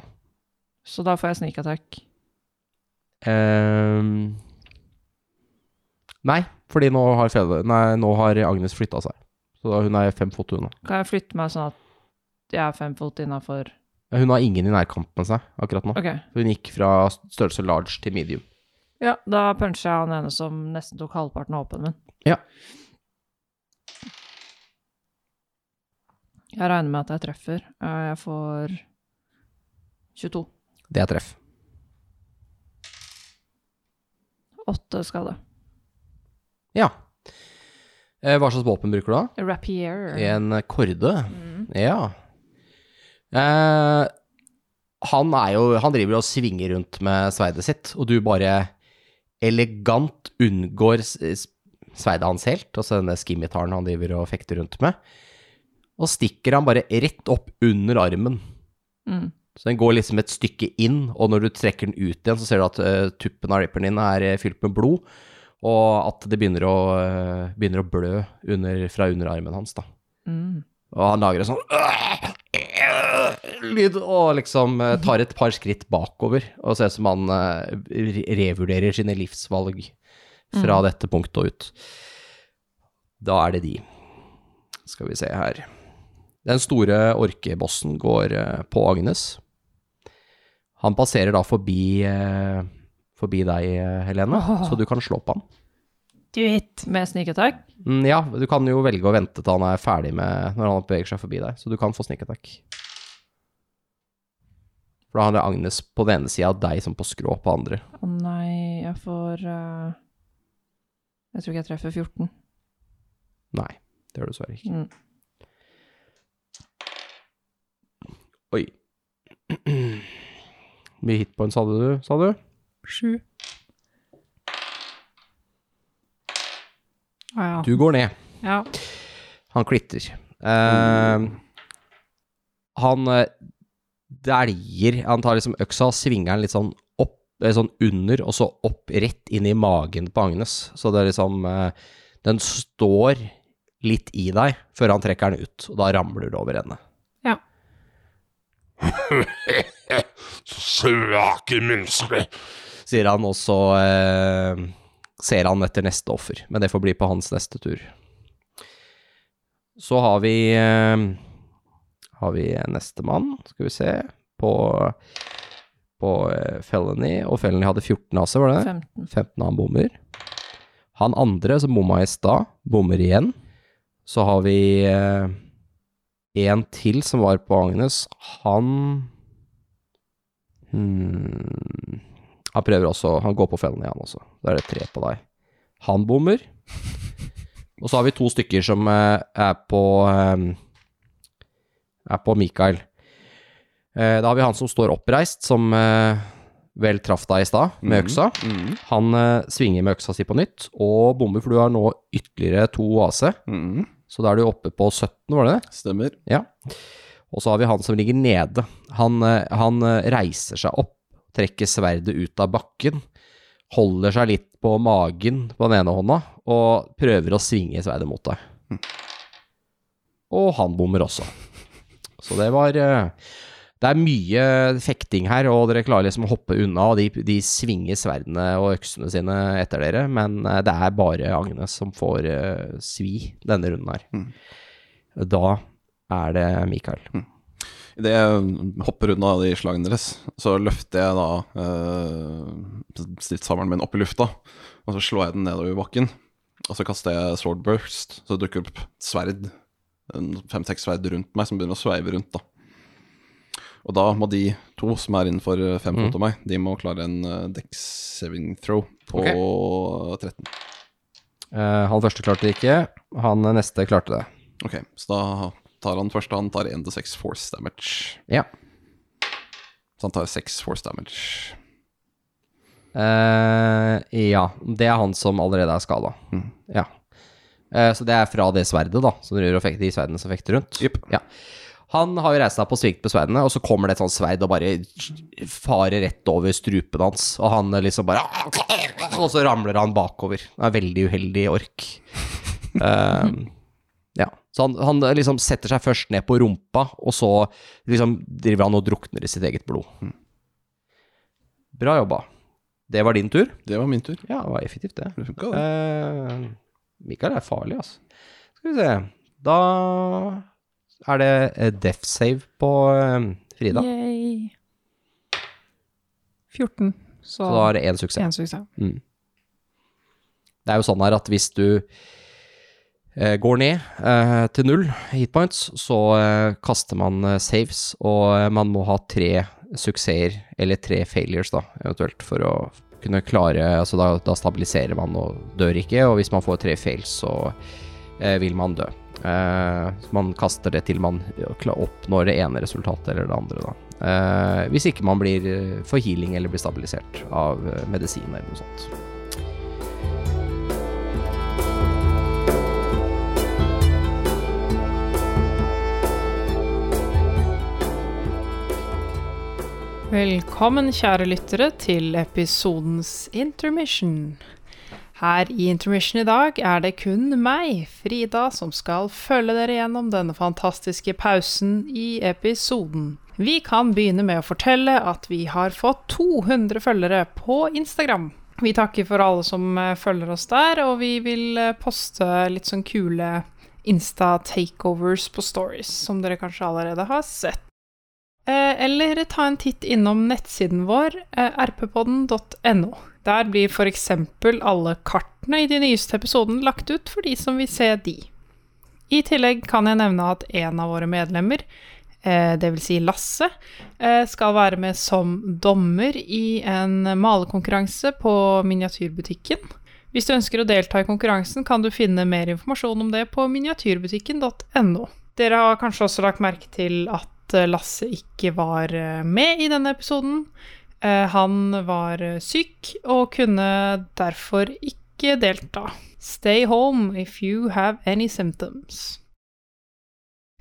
Speaker 6: Så da får jeg sneak attack.
Speaker 2: Ehm, nei, fordi nå har, Fede, nei, nå har Agnes flytta seg. Så da hun er fem fot unna.
Speaker 6: Kan jeg flytte meg sånn at jeg er fem fot innafor
Speaker 2: Ja, Eh, Hun har ingen i nærkamp med seg akkurat nå.
Speaker 6: Ok.
Speaker 2: Hun gikk fra størrelse large til medium.
Speaker 6: Ja, da puncher jeg han ene som nesten tok halvparten av åpen min.
Speaker 2: Ja.
Speaker 6: Jeg regner med at jeg treffer. Eh, Jeg får 22.
Speaker 2: Det er treff.
Speaker 6: Åtte skade.
Speaker 2: Ja. Eh, hva slags våpen bruker du da?
Speaker 6: Rapier.
Speaker 2: En eh, korde? Ja. Eh, han er jo Han driver og svinger rundt med sverdet sitt, og du bare elegant unngår s- s- sverdet hans helt, altså denne skimitaren han driver og fekter rundt med, og stikker han bare rett opp under armen.
Speaker 6: Mm.
Speaker 2: Så den går liksom et stykke inn, og når du trekker den ut igjen, så ser du at eh, tuppen av ripperen din er eh, fylt med blod, og at det begynner å, eh, begynner å blø under, fra under armen hans, da.
Speaker 6: Mm.
Speaker 2: Og han lager en sånn «Åh! Åh!» lyd og liksom eh, tar et par skritt bakover og ser ut som han eh, re- revurderer sine livsvalg fra dette punktet og ut. Da er det de. Skal vi se her. Den store orkebossen går eh, på Agnes. Han passerer da forbi, eh, forbi deg, eh, Helene, så du kan slå på han.
Speaker 5: Do it!
Speaker 6: Med sneak attack?
Speaker 2: Mm, ja, du kan jo velge å vente til han er ferdig med når han beveger seg forbi deg, så du kan få sneak attack. For da har det Agnes på den ene sida og deg som på skrå på andre.
Speaker 6: Å nei, jeg får eh, Jeg tror ikke jeg treffer 14.
Speaker 2: Nei, det gjør du dessverre ikke.
Speaker 6: Mm.
Speaker 2: Oi. Hvor mye hitpoints hadde du, sa du?
Speaker 5: Sju. Å Ah, ja.
Speaker 2: Du går ned.
Speaker 5: ja.
Speaker 2: Han klitter. Eh, han eh, dæljer Han tar liksom øksa og svinger den litt sånn opp, eh, sånn under, og så opp rett inn i magen på Agnes. Så det er liksom eh, Den står litt i deg før han trekker den ut, og da ramler du over henne.
Speaker 5: ja.
Speaker 7: Svake mennesker.
Speaker 2: Sier han, og så eh, ser han etter neste offer. Men det får bli på hans neste tur. Så har vi eh, Har vi nestemann, skal vi se, på på eh, Felony, og Felony hadde 14 AC, var det?
Speaker 6: 15.
Speaker 2: 15 han bommer. Han andre som bomma i stad, bommer igjen. Så har vi eh, en til som var på Agnes. Han hmm, Han prøver også Han går på fellen igjen også. Da er det tre på deg. Han bommer. Og så har vi to stykker som eh, er på eh, er på Mikael. Eh, da har vi han som står oppreist, som eh, vel traff deg i stad med øksa.
Speaker 3: Mhm.
Speaker 2: Han eh, svinger med øksa si på nytt og bommer, for du har nå ytterligere to AC.
Speaker 3: Mhm.
Speaker 2: Så da er du oppe på 17, var det det?
Speaker 3: Stemmer.
Speaker 2: Og så har vi han som ligger nede. Han, eh, han eh, reiser seg opp, trekker sverdet ut av bakken, holder seg litt på magen på den ene hånda, og prøver å svinge sverdet mot deg. Og han bommer også. Så det var eh, Det er mye fekting her, og dere klarer liksom å hoppe unna, og de, de svinger sverdene og øksene sine etter dere, men eh, det er bare Agnes som får eh, svi denne runden her. Da er det Mikael.
Speaker 3: Idet jeg hopper unna de slagene deres, så løfter jeg da eh, stridshammeren min opp i lufta. Og så slår jeg den nedover bakken. Og så kaster jeg sword burst, så dukker opp et sverd. en Fem-seks sverd rundt meg som begynner å sveive rundt, da. Og da må de to som er innenfor eh, fem fot av meg, de må klare en eh, dex saving throw på 13.
Speaker 2: Eh, han første klarte det ikke, han eh, neste klarte det.
Speaker 3: Ok, så da tar han først Han tar 1 til 6 force damage.
Speaker 2: Ja.
Speaker 3: Så han tar 6 force damage.
Speaker 2: Eh, ja, det er han som allerede er skada. Ja. Eh, så det er fra det sverdet, da, som rører og fekter, de sverdene som fekter rundt. Ja. Han har jo reist seg på svikt på sverdene, og så kommer det et sånt sverd og bare farer rett over strupen hans, og han liksom bare «Ah!» Og så ramler han bakover. Det er veldig uheldig ork. Eh, ja. Så han, han liksom setter seg først ned på rumpa, og så liksom driver han og drukner i sitt eget blod. Bra jobba. Det var din tur.
Speaker 3: Det var min tur.
Speaker 2: Ja, det var effektivt, det.
Speaker 3: Det funka, det.
Speaker 2: Eh, Mikael er farlig, altså. Skal vi se. Da er det eh, death save på eh, Frida.
Speaker 5: Yay. 14. Så,
Speaker 2: Så da er det én suksess.
Speaker 5: en suksess.
Speaker 2: Det er jo sånn her at hvis du eh, går ned eh, til null hitpoints, så eh, kaster man eh, saves, og eh, man må ha tre suksesser, eller tre failures da, eventuelt, for å kunne klare, altså da, da stabiliserer man og dør ikke, og hvis man får tre fails, så eh, vil man dø. Eh, så man kaster det til man kla- oppnår det ene resultatet eller det andre da. Eh, hvis ikke man blir eh, for healing eller blir stabilisert av eh, medisin eller noe sånt.
Speaker 5: Velkommen, kjære lyttere, til episodens intermission. Her i intermission i dag er det kun meg, Frida, som skal følge dere gjennom denne fantastiske pausen i episoden. Vi kan begynne med å fortelle at vi har fått 200 følgere på Instagram. Vi takker for alle som eh, følger oss der, og vi vil eh, poste litt sånn kule Insta-takeovers på stories, som dere kanskje allerede har sett. Eh, Eller ta en titt innom nettsiden vår, eh, rppodden.no. Der blir f.eks. alle kartene i de nyeste episodene lagt ut for de som vil se de. I tillegg kan jeg nevne at en av våre medlemmer, eh, dvs. Si Lasse, eh, skal være med som dommer i en malekonkurranse på Miniatyrbutikken. Hvis du ønsker å delta i konkurransen, kan du finne mer informasjon om det på miniatyrbutikken.no. Dere har kanskje også lagt merke til at eh, Lasse ikke var eh, med i denne episoden. Eh, Han var eh, syk og kunne derfor ikke delta. Stay home if you have any symptoms.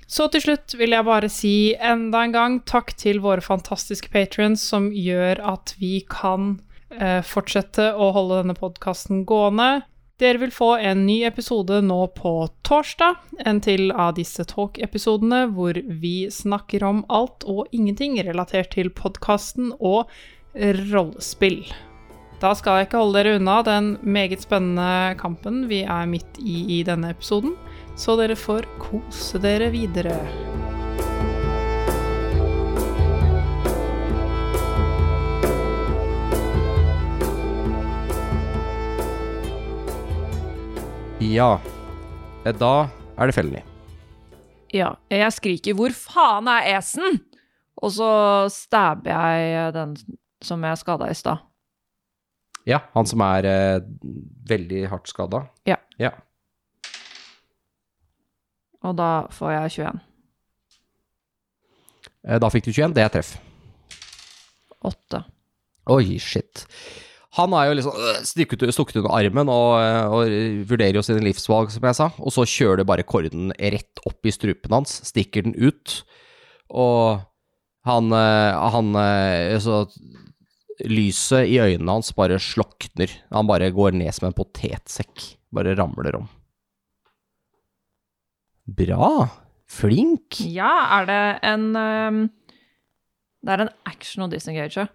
Speaker 5: Så til slutt vil jeg bare si enda en gang takk til våre fantastiske patrons som gjør at vi kan eh, fortsette å holde denne podkasten gående. Dere vil få en ny episode nå på torsdag, en til av disse talk-episodene hvor vi snakker om alt og ingenting relatert til podkasten og rollespill. Da skal jeg ikke holde dere unna den meget spennende kampen vi er midt i i denne episoden, så dere får kose dere videre.
Speaker 2: Ja. Eh, Da er det Felny.
Speaker 6: Ja, jeg skriker 'Hvor faen er esen?' Og så stabber jeg eh, den som jeg skada i stad.
Speaker 2: Ja, han som er eh, veldig hardt skada.
Speaker 6: Ja.
Speaker 2: ja.
Speaker 6: Og da får jeg 21.
Speaker 2: Eh, Da fikk du 21, det er treff.
Speaker 6: 8.
Speaker 2: Oi, shit. Han er jo liksom øh, stukket, stukket under armen og, øh, og vurderer jo sine livsvalg, som jeg sa. Og så kjører du bare korden rett opp i strupen hans, stikker den ut. Og han, øh, han øh, så Lyset i øynene hans bare slokner. Han bare går ned som en potetsekk. Bare ramler om. Bra. Flink.
Speaker 6: Ja, er det en ehm, Det er en action å disengage.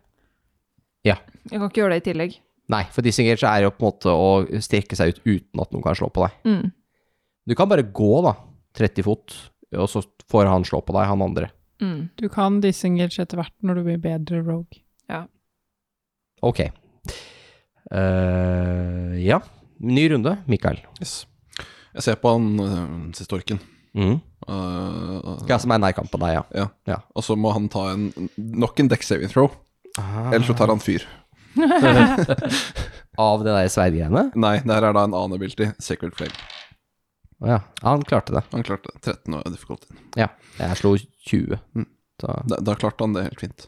Speaker 2: Ja.
Speaker 6: Jeg kan ikke gjøre det i tillegg.
Speaker 2: Nei, for disengage er jo på en måte å strekke seg ut uten at noen kan slå på deg.
Speaker 6: Mm.
Speaker 2: Du kan bare gå, da. 30 fot, og så får han slå på deg, han andre.
Speaker 6: Mm.
Speaker 5: Du kan disengage etter hvert når du blir bedre rogue.
Speaker 2: Ok. Eh, ja. Ny runde, Mikael.
Speaker 3: Yes. Jeg ser på han øh, siste orken.
Speaker 2: Mm.
Speaker 3: Øh,
Speaker 2: Ja, som er nærkamp på deg, ja.
Speaker 3: og så må han ta en, nok en deck saving throw,
Speaker 2: Ah.
Speaker 3: ellers så tar han fyr.
Speaker 2: Av det der sverdgreiene?
Speaker 3: Nei, det her er da en annen ability, Sacred Flame.
Speaker 2: Å Ja, han klarte det.
Speaker 3: Han klarte det. 13 og difficulty.
Speaker 2: Ja. Jeg slo 20.
Speaker 3: Mm.
Speaker 2: Så.
Speaker 3: Da, da klarte han det helt fint.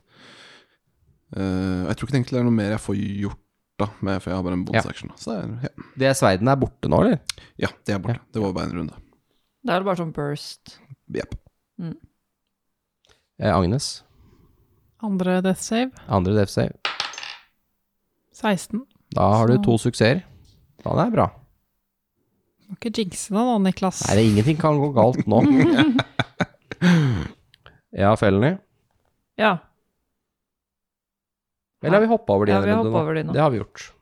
Speaker 3: Eh, jeg tror ikke det egentlig er noe mer jeg får gjort, da, med, for jeg har bare en bonus
Speaker 2: Ja.
Speaker 3: action. da. Så det er,
Speaker 2: Det sverdet er borte nå, eller?
Speaker 3: ja, ja, det er borte. Det var bare en runde.
Speaker 6: Da er det bare sånn burst.
Speaker 3: Jep.
Speaker 2: Eh, Agnes.
Speaker 5: Andre death save.
Speaker 2: Andre death save.
Speaker 5: 16.
Speaker 2: Da har du
Speaker 5: Så-
Speaker 2: to suksesser. Da er det bra.
Speaker 5: Må ikke jinxe deg nå, Niklas.
Speaker 2: Nei, det er ingenting kan gå galt nå. ja, Felny.
Speaker 6: Ja.
Speaker 2: Eller har vi hoppa over de
Speaker 6: Ja,
Speaker 2: en
Speaker 6: vi har
Speaker 2: runde
Speaker 6: hoppet over de nå.
Speaker 2: Det har vi gjort.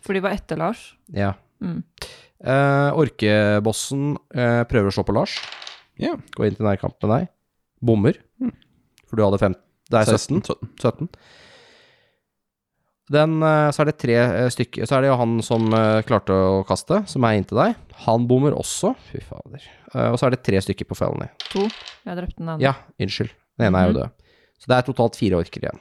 Speaker 6: For de var etter Lars.
Speaker 2: Ja.
Speaker 6: Mm.
Speaker 2: Eh, orkebossen eh, prøver å slå på Lars.
Speaker 3: Ja.
Speaker 2: Gå inn til nærkamp med deg. Bommer.
Speaker 6: Mm.
Speaker 2: For du hadde fem. Det er 17.
Speaker 3: 17.
Speaker 2: 17. Den, eh, så er det tre eh, stykker Så er det jo han som eh, klarte å kaste, som er inntil deg. Han bommer også. Fy fader. Eh, Og så er det tre stykker på felony.
Speaker 6: Jeg drepte den ene.
Speaker 2: Ja, unnskyld. Den ene er jo
Speaker 6: Mhm.
Speaker 2: død. Så det er totalt fire orker igjen.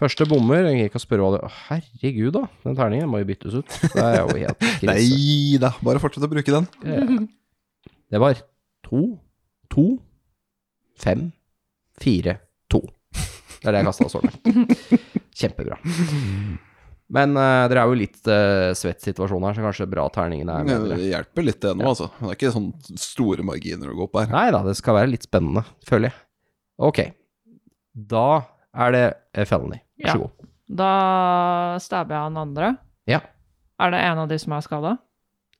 Speaker 2: Første bommer. Jeg gikk og spørre hva det Å, Herregud, da. Den terningen må jo byttes ut. Det er jo helt krise.
Speaker 3: Nei da, bare fortsett å bruke den.
Speaker 2: Det var to, to, fem, fire, to. Det er det jeg kasta så langt. Kjempebra. Men eh, dere er jo i litt eh, svett situasjon her, så kanskje bra terningene er bedre.
Speaker 3: Det hjelper litt, det nå, altså. Det er ikke sånn store marginer å gå opp her.
Speaker 2: Nei da, det skal være litt spennende, føler jeg. Ok. Da er det eh, felony. Vær
Speaker 6: Ja.
Speaker 2: så god.
Speaker 6: Da stabber jeg han andre.
Speaker 2: Ja.
Speaker 6: Er det en av de som er skada?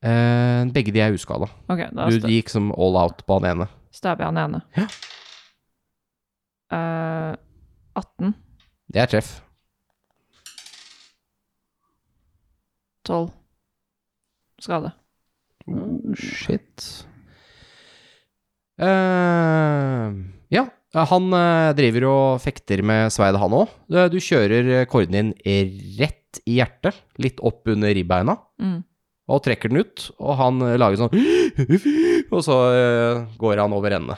Speaker 2: Eh, begge de er uskada.
Speaker 6: Ok, da
Speaker 2: Du
Speaker 6: sta-
Speaker 2: gikk som all out på han ene.
Speaker 6: stabber jeg han ene.
Speaker 2: Ja.
Speaker 6: Eh, 18.
Speaker 2: Det er treff.
Speaker 6: 12. Skade.
Speaker 2: Shit. Eh, ja, han eh, driver og fekter med sveidet, han òg. Du kjører eh, korden din rett i hjertet, litt opp under ribbeina,
Speaker 6: Mm.
Speaker 2: og trekker den ut. Og han eh, lager sånn Og så eh, går han over ende,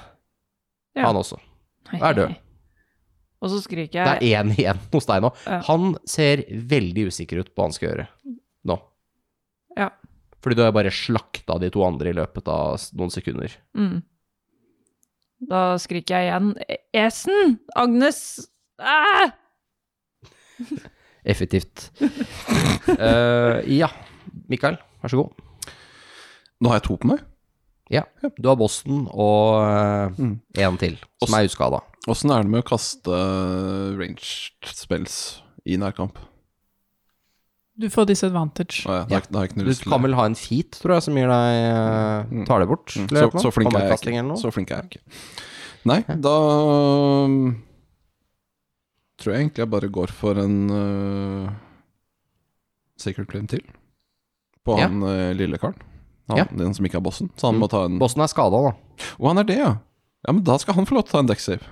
Speaker 6: Ja.
Speaker 2: han også. Er død.
Speaker 6: Og så skriker
Speaker 2: Det
Speaker 6: jeg
Speaker 2: er én igjen hos deg nå.
Speaker 6: Ja.
Speaker 2: Han ser veldig usikker ut på hva han skal gjøre nå.
Speaker 6: Ja.
Speaker 2: Fordi du har bare slakta de to andre i løpet av s- noen sekunder.
Speaker 6: Mm. Da skriker jeg igjen E-, Esen! Agnes! Ah! Æ!
Speaker 2: Effektivt. Eh, ja. Mikael, vær så god.
Speaker 3: Nå har jeg to på meg.
Speaker 2: Du har Boston og
Speaker 3: Mm.
Speaker 2: én til, som er uskada.
Speaker 3: Åssen er det med å kaste ranged spells i nærkamp?
Speaker 5: Du får disadvantage.
Speaker 3: Å ja, da,
Speaker 2: Ja.
Speaker 3: har jeg- da har jeg ikke noe
Speaker 2: Du
Speaker 3: lyst til
Speaker 2: kan
Speaker 3: det.
Speaker 2: vel ha en feat, tror jeg, som gir deg eh, Tar det bort?
Speaker 3: Mm,
Speaker 2: eller
Speaker 3: Så,
Speaker 2: noe?
Speaker 3: så, flink er jeg
Speaker 2: Kammerkasting eller
Speaker 3: ikke.
Speaker 2: noe?
Speaker 3: så flink er jeg ikke. Nei, da um, tror jeg egentlig jeg bare går for en uh, Sacred Claim til. På
Speaker 2: Ja.
Speaker 3: han uh, lille karen. Han,
Speaker 2: Ja. Mm.
Speaker 3: Den som ikke er bossen. Så han må ta en Å,
Speaker 2: Boston er skada, da.
Speaker 3: han er det, ja! Ja, Men da skal han få lov til å ta en dekksave.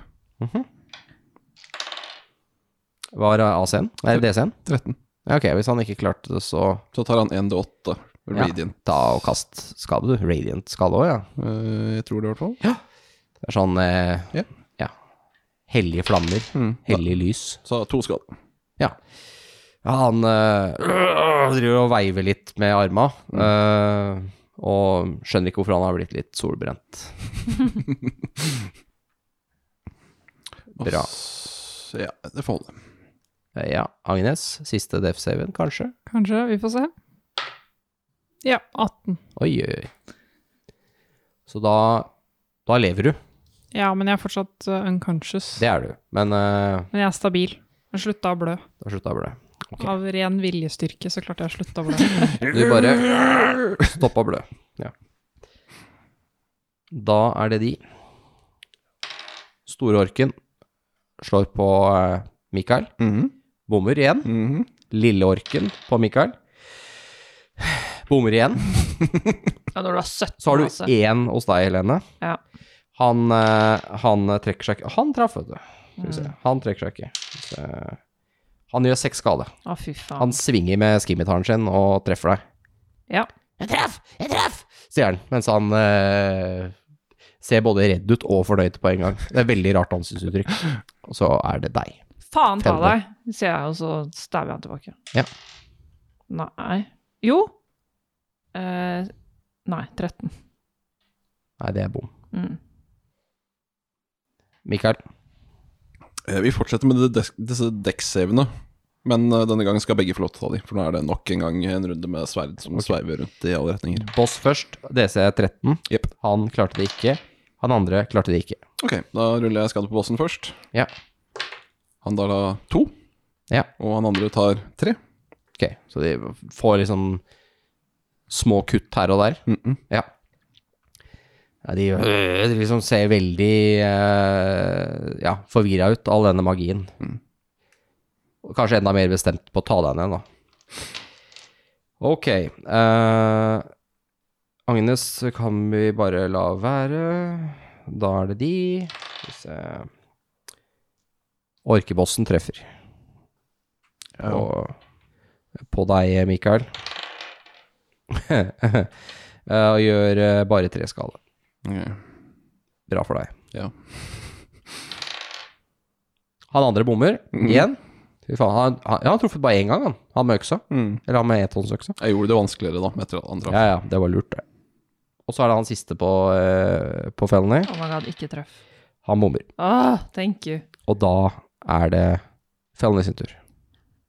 Speaker 2: Var det AC-en? Nei, DC-en?
Speaker 3: 13.
Speaker 2: Ja, ok, hvis han ikke klarte det, så
Speaker 3: Så tar han 1D8
Speaker 2: Ja.
Speaker 3: radiant.
Speaker 2: ta og kast skade, du. Radiant skade òg, ja.
Speaker 3: Uh, jeg tror det, i hvert fall.
Speaker 2: Det er sånn eh,
Speaker 3: Ja.
Speaker 2: ja. Hellige flammer.
Speaker 3: Mm.
Speaker 2: Hellig lys.
Speaker 3: Så to skader.
Speaker 2: Ja. ja han eh, øh, driver og veiver litt med arma,
Speaker 3: Mm.
Speaker 2: eh, og skjønner ikke hvorfor han har blitt litt solbrent. Bra.
Speaker 3: Og s- Ja, det får holde.
Speaker 2: Eh, Ja, Agnes, siste def saven kanskje?
Speaker 5: Kanskje. Vi får se. Ja, 18.
Speaker 2: Oi, oi, oi. Så da, da lever du.
Speaker 5: Ja, men jeg er fortsatt eh, unconscious.
Speaker 2: Det er du. Men eh,
Speaker 5: Men jeg er stabil. Jeg slutta å blø.
Speaker 2: da slutta jeg å blø. Ok.
Speaker 5: Av ren viljestyrke så klarte jeg å slutte å blø.
Speaker 2: Du bare stoppa blø. Ja. Da er det de. Stororken slår på eh, Mikael. Bommer igjen. Lilleorken på Mikael. Bommer igjen.
Speaker 6: Ja, når du er 17,
Speaker 2: Så har
Speaker 6: altså.
Speaker 2: du én hos deg, Helene.
Speaker 6: Ja.
Speaker 2: Han, eh, han trekker seg ikke Han traff, vet du. Skal vi se. Han trekker seg ikke. Skal vi se. Han gjør seks skade.
Speaker 6: Å, fy faen.
Speaker 2: Han svinger med skimmitaren sin og treffer deg.
Speaker 6: Ja.
Speaker 2: Jeg treff! Jeg treff! sier han, mens han eh, ser både redd ut og fornøyd på en gang. Det er veldig rart ansiktsuttrykk. Og så er det deg.
Speaker 6: Faen ta
Speaker 2: Femte.
Speaker 6: deg, sier jeg, og så stabber jeg han tilbake.
Speaker 2: Ja.
Speaker 6: Nei Jo. Eh, nei, 13.
Speaker 2: Nei, det er bom.
Speaker 6: Mm.
Speaker 2: Mikael,
Speaker 3: Eh, Vi fortsetter med de desk- disse dekksavene. Men eh, denne gangen skal begge få lov til å ta de, for nå er det nok en gang en runde med sverd som sveiver rundt i alle retninger.
Speaker 2: boss først. DC 13.
Speaker 3: Jepp.
Speaker 2: Han klarte det ikke. Han andre klarte det ikke.
Speaker 3: Ok, da ruller jeg skade på bossen først.
Speaker 2: Ja.
Speaker 3: Han tar da to,
Speaker 2: Ja.
Speaker 3: og han andre tar tre.
Speaker 2: Ok, så de får liksom små kutt her og der.
Speaker 3: Mhm.
Speaker 2: Ja. ja de, øh, de liksom ser veldig eh, ja, forvirra ut, all denne magien. Og Kanskje enda mer bestemt på å ta deg ned, da. Ok. eh, Agnes kan vi bare la være. Da er det de. Skal vi se Orkebossen treffer. Og på deg, Mikael. Eh, Og gjør eh, bare tre skade.
Speaker 3: Ok.
Speaker 2: Bra for deg.
Speaker 3: Ja.
Speaker 2: Han andre bommer
Speaker 3: Mm.
Speaker 2: igjen. Fy faen, han, han, ja, han har truffet bare én gang, han. Han med øksa.
Speaker 3: Mm.
Speaker 2: Eller han med enhåndsøksa.
Speaker 3: Jeg gjorde det vanskeligere, da, etter at han traff.
Speaker 2: Ja, ja, det var lurt, det. Og så er det han siste på, eh, på felony.
Speaker 6: Oh my god, ikke treff.
Speaker 2: Han bommer.
Speaker 6: Åh, Ah, thank you.
Speaker 2: Og da er det felony sin tur.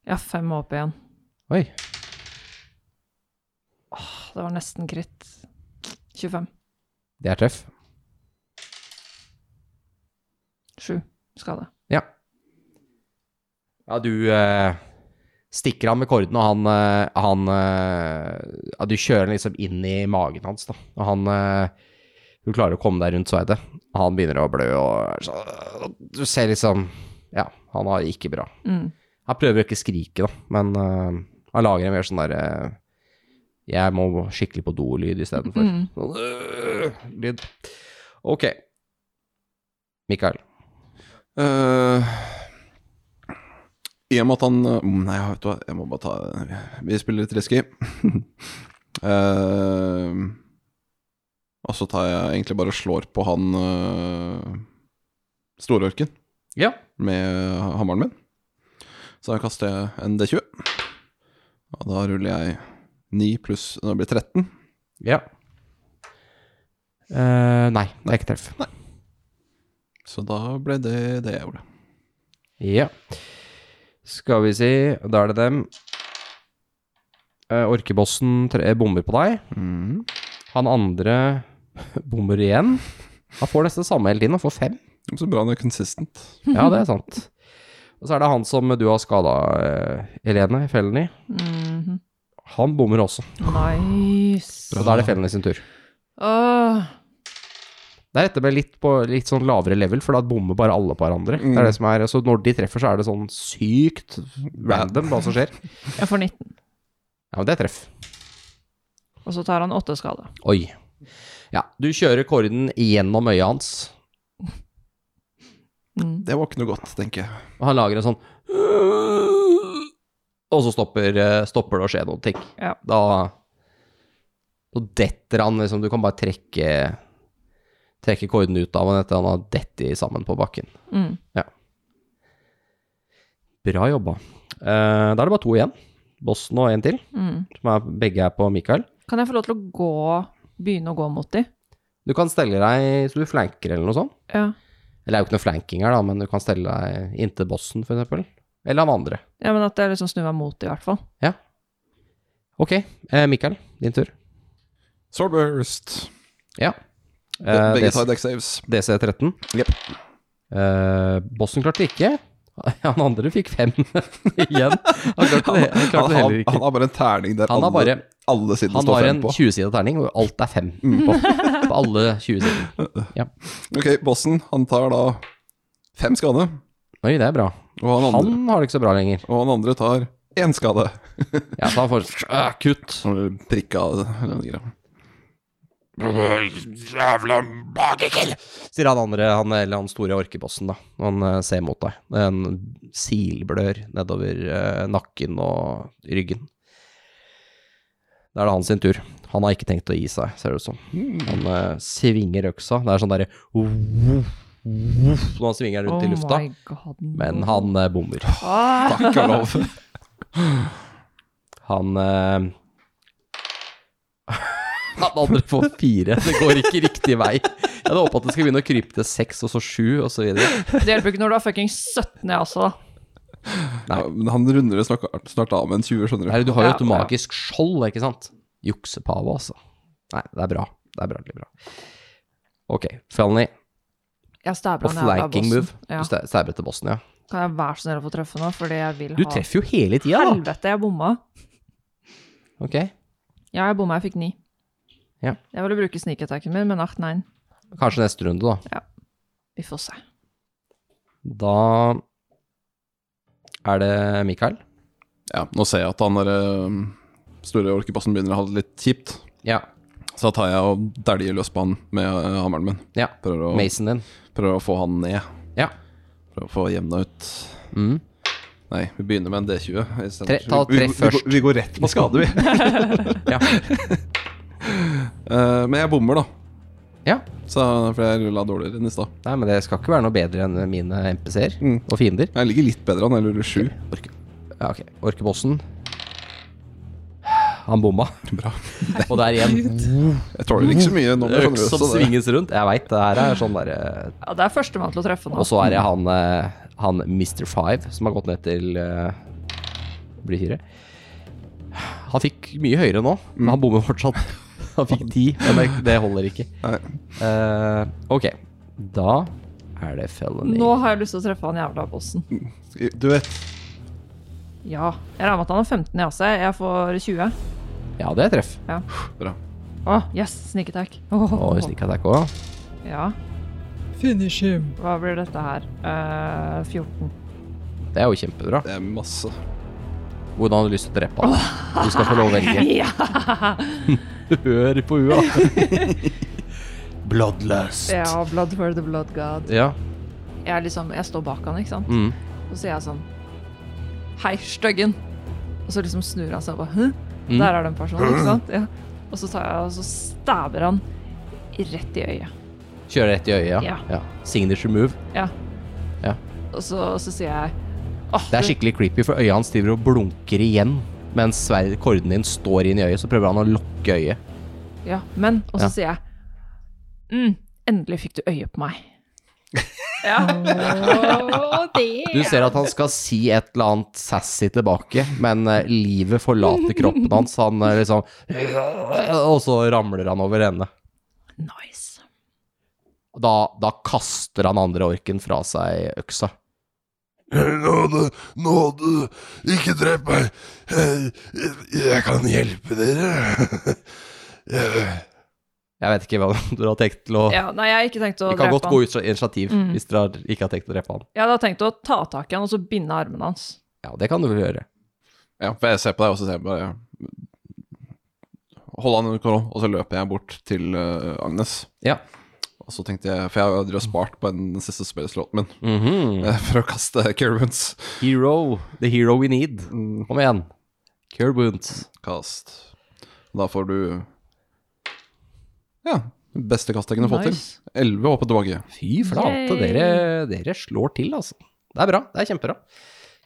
Speaker 6: Jeg har fem HP igjen.
Speaker 2: Oi.
Speaker 6: Det var nesten kritt. 25.
Speaker 2: Det er treff.
Speaker 6: 7 skade.
Speaker 2: Ja. Ja, du eh, stikker ham med korden, og han, eh, han eh, Ja, du kjører han liksom inn i magen hans, da. Og han eh, Du klarer å komme deg rundt sverdet. Og Han begynner å blø, og er så, du ser liksom Ja, han har det ikke bra.
Speaker 6: Mm.
Speaker 2: Han prøver å ikke skrike, da, men eh, han lager en mer sånn derre Jeg må skikkelig på do-lyd istedenfor.
Speaker 6: Mm.
Speaker 2: Sånn øh, lyd. Ok. Mikael.
Speaker 3: Eh, I og med at han mm, Nei, vet du hva, jeg må bare ta Vi spiller litt risky. Eh, og så tar jeg egentlig bare og slår på han uh, storørken
Speaker 2: Ja.
Speaker 3: med hammeren min. Så da kaster jeg en D20. Og da ruller jeg 9 pluss Nå blir det 13.
Speaker 2: Ja. Eh, nei, det er ikke treff.
Speaker 3: Så da ble det det jeg gjorde.
Speaker 2: Ja. Skal vi si Da er det dem. Eh, orkebossen tre, eh, bomber på deg. Han andre bomber igjen. Han får nesten det samme hele tiden, han får fem.
Speaker 3: Så bra han er consistent.
Speaker 2: Ja, det er sant. Og så er det han som du har skada, Helene, fellen i.
Speaker 6: Mhm.
Speaker 2: Han bommer også.
Speaker 6: Nice. Ah,
Speaker 2: Så da er det fellen i sin tur.
Speaker 6: Åh,
Speaker 2: Det er dette med litt, på, litt sånn lavere level, for da bommer bare alle på hverandre. Det er det som er, så når de treffer, så er det sånn sykt random hva som skjer.
Speaker 6: jeg får 19.
Speaker 2: Ja, men det er treff.
Speaker 6: Og så tar han 8 skade.
Speaker 2: Oi. Ja, du kjører korden gjennom øyet hans,
Speaker 6: Mm.
Speaker 3: Det var ikke noe godt, tenker jeg.
Speaker 2: og han lager en sånn Og så stopper, eh, stopper det å skje noen ting.
Speaker 6: Ja.
Speaker 2: Da Da detter han liksom Du kan bare trekke Trekke korden ut av han etter han har dettet sammen på bakken.
Speaker 6: Mm.
Speaker 2: Bra jobba. Eh, da er det bare to igjen. Bossen og en til,
Speaker 6: Mm.
Speaker 2: som er, begge er på Mikael.
Speaker 6: Kan jeg få lov til å gå, begynne å gå mot de?
Speaker 2: Du kan stelle deg så du flanker eller noe sånt.
Speaker 6: Ja.
Speaker 2: Eller det er jo ikke noe flanking her, da, men du kan stelle deg inntil bossen, for eksempel. Eller han andre.
Speaker 6: Ja, men at jeg liksom snur meg mot det, i hvert fall.
Speaker 2: Ok, eh, Mikael, din tur.
Speaker 3: Swordburst. Be-
Speaker 2: Eh,
Speaker 3: Begge
Speaker 2: DC
Speaker 3: tar deck saves.
Speaker 2: DC13.
Speaker 3: Jep.
Speaker 2: Eh, Boston klarte det ikke. Han andre fikk fem igjen. Han klarte det, han klarte
Speaker 3: Han,
Speaker 2: det
Speaker 3: har-
Speaker 2: heller
Speaker 3: han
Speaker 2: ikke.
Speaker 3: har bare en terning der
Speaker 2: Han har
Speaker 3: alle,
Speaker 2: bare
Speaker 3: alle sidene
Speaker 2: Han
Speaker 3: står
Speaker 2: har
Speaker 3: frem
Speaker 2: en
Speaker 3: på. Mm,
Speaker 2: 20-sida terning, hvor alt er fem på. På alle 20 sider.
Speaker 3: Ok, bossen, han tar da fem skade.
Speaker 2: Oi, det er bra.
Speaker 3: Og han andre,
Speaker 2: Han har det ikke så bra lenger.
Speaker 3: Og han andre tar én skade.
Speaker 2: Ja, så han får øh, kutt.
Speaker 3: Sånn Prikka eller noe greier.
Speaker 7: Jævla magiker!
Speaker 2: Sier han andre, han, eller han store orkebossen, da. Han eh, ser mot deg. Det er En silblør nedover eh, nakken og ryggen. Da er det hans sin tur. Han har ikke tenkt å gi seg, ser det ut som. Han eh, svinger øksa. Det er sånn derre Når han svinger den rundt i lufta.
Speaker 6: Oh my god.
Speaker 2: Men han eh, bommer.
Speaker 6: Ah,
Speaker 3: Takk og lov.
Speaker 2: Han eh, Han andre får fire. Det går ikke riktig vei. Jeg hadde håpa at det skulle begynne å krype til seks, og så sju, og så videre.
Speaker 6: det hjelper ikke når du har fucking 17, jeg også, da.
Speaker 3: Ja, men han runder det snart, snart av med en 20, skjønner du.
Speaker 2: Nei, du har jo
Speaker 6: Ja,
Speaker 2: et magisk skjold, ikke sant? Juksepave, altså. Nei, det er bra. Det er bra, veldig bra. Ok, Felny
Speaker 6: Jeg stabler
Speaker 2: på
Speaker 6: han jævla
Speaker 2: flanking
Speaker 6: bossen.
Speaker 2: move.
Speaker 6: Ja.
Speaker 2: Du sta- stabber til bossen, ja.
Speaker 6: Kan jeg være så snill å få treffe nå, fordi jeg vil
Speaker 2: Du
Speaker 6: ha
Speaker 2: treffer jo hele tida, da.
Speaker 6: Helvete, jeg bomma.
Speaker 2: Ok,
Speaker 6: Ja, jeg bomma, jeg fikk ni.
Speaker 2: Ja.
Speaker 6: Jeg ville bruke sneak-attacken min, men ach, nei.
Speaker 2: Kanskje neste runde, da.
Speaker 6: Vi får se.
Speaker 2: Da er det Mikael.
Speaker 3: Ja, nå ser jeg at han der eh, store orkebossen begynner å ha det litt kjipt.
Speaker 2: Ja.
Speaker 3: Så da tar jeg og dæljer løs på han med eh, hammeren min.
Speaker 2: ja.
Speaker 3: Prøver å,
Speaker 2: Mason din.
Speaker 3: prøver å få han ned.
Speaker 2: Ja.
Speaker 3: Prøver å få jevna ut.
Speaker 2: Mm.
Speaker 3: Nei, vi begynner med en D20. i stedet
Speaker 2: Tre-
Speaker 3: for-
Speaker 2: ta
Speaker 3: vi- vi-
Speaker 2: treff
Speaker 3: vi går-
Speaker 2: først.
Speaker 3: Vi går rett på skade, vi.
Speaker 2: Ja.
Speaker 3: Eh, men jeg bommer, da.
Speaker 2: ja.
Speaker 3: Så, for jeg rulla dårligere enn i stad.
Speaker 2: Nei, men det skal ikke være noe bedre enn mine MPC-er
Speaker 3: Mm.
Speaker 2: og fiender.
Speaker 3: Jeg ligger litt bedre an, jeg ruller sju.
Speaker 2: Ja, ok. Orkebossen. Han bomma.
Speaker 3: Bra.
Speaker 2: Og der igjen.
Speaker 3: Jeg tåler ikke så mye nå, men jeg
Speaker 2: Øks
Speaker 3: skjønner
Speaker 2: som
Speaker 3: også det.
Speaker 2: svinges rundt. Jeg veit, det her er sånn derre
Speaker 6: Ja, det er førstemann til å treffe nå.
Speaker 2: Og så
Speaker 3: Mm.
Speaker 2: er det han, eh, han Mr. Five som har gått ned til eh, Blir fire. Han fikk mye høyere nå, men
Speaker 3: Mm.
Speaker 2: han bommer fortsatt. Han fikk ti, men det, det holder ikke.
Speaker 3: Nei.
Speaker 2: Eh, ok, da er det felony.
Speaker 6: Nå har jeg lyst til å treffe han jævla bossen.
Speaker 3: Du vet,
Speaker 6: Ja. Jeg regner med at han har 15 i AC. Jeg får 20.
Speaker 2: Ja, det er treff.
Speaker 6: Å, yes! Sneak attack. Åh,
Speaker 2: Og sneak attack òg.
Speaker 6: Ja.
Speaker 5: Finish him.
Speaker 6: Hva blir dette her? Eh, 14.
Speaker 2: Det er jo kjempebra.
Speaker 3: det er masse.
Speaker 2: Hvordan har du lyst til å drepe han? Du skal få lov å velge.
Speaker 6: Ja!
Speaker 2: Hør på hua.
Speaker 7: Bloodlust.
Speaker 6: ja, blood for the blood god.
Speaker 2: Ja.
Speaker 6: Jeg, er liksom, jeg står bak han, ikke sant?
Speaker 2: Mm.
Speaker 6: Og så sier jeg sånn Hei, styggen! Og så liksom snur han seg og bare Hæ?
Speaker 2: Mm.
Speaker 6: Der er det en person, ikke sant? Ja. Og så tar jeg og så stabber han rett i øyet.
Speaker 2: Kjøre rett i øyet, ja.
Speaker 6: Ja.
Speaker 2: ja. Signature move.
Speaker 6: Og så, og så sier jeg «Åh,
Speaker 2: Det er
Speaker 6: du-
Speaker 2: skikkelig creepy, for øyet hans driver og blunker igjen. Mens sverd- korden din står inn i øyet, så prøver han å lukke øyet.
Speaker 6: Ja, men Og så
Speaker 2: Ja.
Speaker 6: sier jeg mm, Endelig fikk du øye på meg. ja.
Speaker 2: Du ser at han skal si et eller annet sassy tilbake, men eh, livet forlater kroppen hans. Han eh, liksom Og så ramler han over ende.
Speaker 6: Nice.
Speaker 2: Da, da kaster han andre orken fra seg øksa.
Speaker 7: Nåde, nåde, ikke drep meg. Eh, Jeg kan hjelpe dere. Eh,
Speaker 2: Jeg vet ikke hva du har tenkt til å
Speaker 6: Ja, nei, jeg har ikke tenkt å
Speaker 2: Vi kan
Speaker 6: drepe
Speaker 2: godt
Speaker 6: han. Mm.
Speaker 2: gå ut fra initiativ hvis dere har- ikke har tenkt å drepe han.
Speaker 6: Jeg hadde tenkt å ta tak i han og så binde armene hans.
Speaker 2: Ja, det kan du vel gjøre.
Speaker 3: Ja, for jeg ser på deg, og så ser jeg bare Hold han under kontroll, og så løper jeg bort til eh, Agnes.
Speaker 2: Ja.
Speaker 3: Og så tenkte jeg, for jeg hadde jo spart på den siste spillslåten min
Speaker 2: Mhm.
Speaker 3: eh, for å kaste Caravans.
Speaker 2: Hero. The hero we need. Kom igjen. Cure wounds.
Speaker 3: Kast. Da får du Ja. Beste kastet jeg kunne fått
Speaker 6: Nice.
Speaker 3: til. Elleve opp og tilbake.
Speaker 2: Fy flate,
Speaker 6: Yay.
Speaker 2: dere, dere slår til, altså. Det er bra. Det er kjempebra.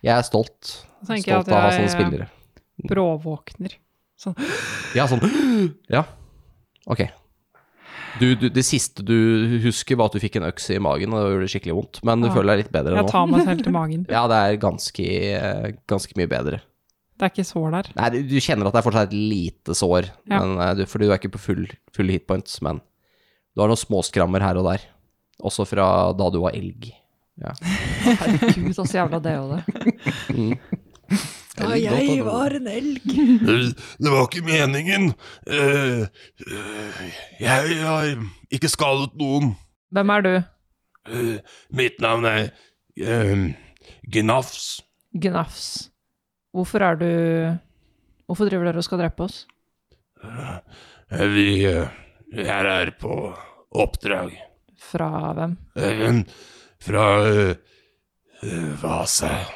Speaker 2: Jeg er stolt.
Speaker 5: Da tenker jeg
Speaker 2: Stolt
Speaker 5: at
Speaker 2: av å ha
Speaker 5: jeg,
Speaker 2: sånne spillere.
Speaker 5: Bråvåkner.
Speaker 2: Ja, sånn Ja. Ok. Du, du, det siste du husker, var at du fikk en øks i magen, og det gjorde skikkelig vondt. Men du
Speaker 5: Ja.
Speaker 2: føler deg litt bedre
Speaker 5: Jeg
Speaker 2: nå.
Speaker 5: tar meg selv til magen.
Speaker 2: Ja, det er ganske, eh, ganske mye bedre.
Speaker 5: Det er ikke sår der.
Speaker 2: Nei, du, du kjenner at det er fortsatt et lite sår,
Speaker 5: Ja.
Speaker 2: men, eh, du, fordi du er ikke på full, full hitpoints, men du har noen småskrammer her og der. Også fra da du var elg.
Speaker 6: Herregud, altså jævla det og det.
Speaker 2: Da jeg var en
Speaker 7: Det det var ikke meningen. Eh, eh, Jeg har ikke skadet noen.
Speaker 6: Hvem er du?
Speaker 7: Eh, Mitt navn er eh, Gnafs.
Speaker 6: Gnafs. Hvorfor er du Hvorfor driver dere og skal drepe oss?
Speaker 7: Eh, Vi eh, er her på oppdrag.
Speaker 6: Fra hvem?
Speaker 7: Eh, Fra eh, eh, Vasa.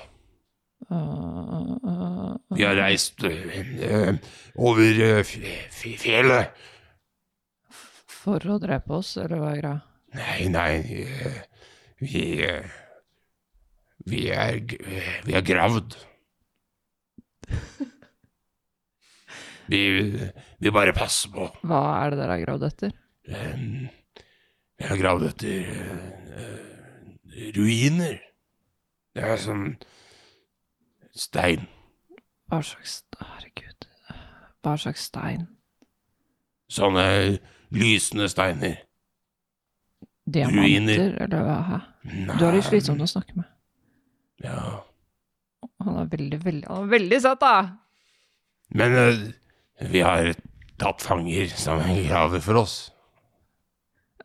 Speaker 6: Øh, øh, øh.
Speaker 7: Vi har reist eh, over eh, fj- fj- fjellet.
Speaker 6: For å drepe oss, eller hva er greia?
Speaker 7: Nei, nei, eh, vi eh, Vi er, g- eh, vi er gravd. Vi, vi bare passer på.
Speaker 6: Hva er det dere har gravd etter?
Speaker 7: Eh, Vi er gravd etter eh, eh, ruiner. Det er sånn stein.
Speaker 6: Hva slags Herregud. Hva slags stein?
Speaker 7: Sånne lysende steiner.
Speaker 6: Diamanter,
Speaker 7: Ruiner.
Speaker 6: eller hva? Hæ?
Speaker 7: Nei.
Speaker 6: Du er litt slitsom å snakke med.
Speaker 7: Ja.
Speaker 6: Han er veldig, veldig Han er veldig søt, da!
Speaker 7: Men eh, vi har tatt fanger som graver for oss.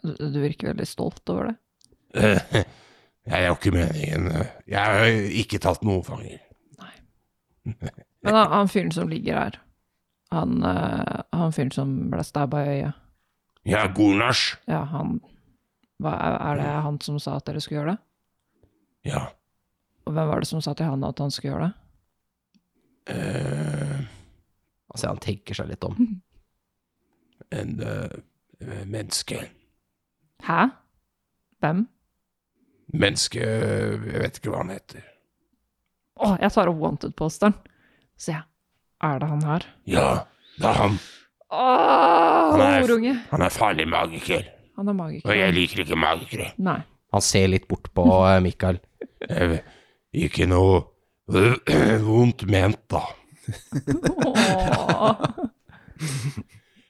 Speaker 6: Du, du virker veldig stolt over det.
Speaker 7: Eh, Jeg er jo ikke meningen eh, Jeg har ikke tatt noen fanger.
Speaker 6: Men han, han fyren som ligger her, han, eh, han fyren som ble stabba i øyet,
Speaker 7: Jeg er Gornasj.
Speaker 6: ja, han hva, er- Er det han som sa at dere skulle gjøre det?
Speaker 7: Ja.
Speaker 6: Og hvem var det som sa til han at han skulle gjøre det?
Speaker 7: eh,
Speaker 2: Altså, han tenker seg litt om.
Speaker 7: En eh, menneske.
Speaker 6: Hæ? Hvem?
Speaker 7: Menneske eh, Jeg vet ikke hva han heter.
Speaker 6: Å, jeg tar opp wanted-posteren. Se, er det han her?
Speaker 7: Ja, det er han.
Speaker 6: Åh,
Speaker 7: Nei.
Speaker 6: horunge!
Speaker 7: Han er farlig magiker.
Speaker 6: Han er
Speaker 7: Og jeg
Speaker 6: magiker.
Speaker 7: liker ikke magikere.
Speaker 6: Nei.
Speaker 2: Han ser litt bort på eh, Mikael.
Speaker 7: Eh, Ikke noe eh, vondt ment, da.
Speaker 6: Åh.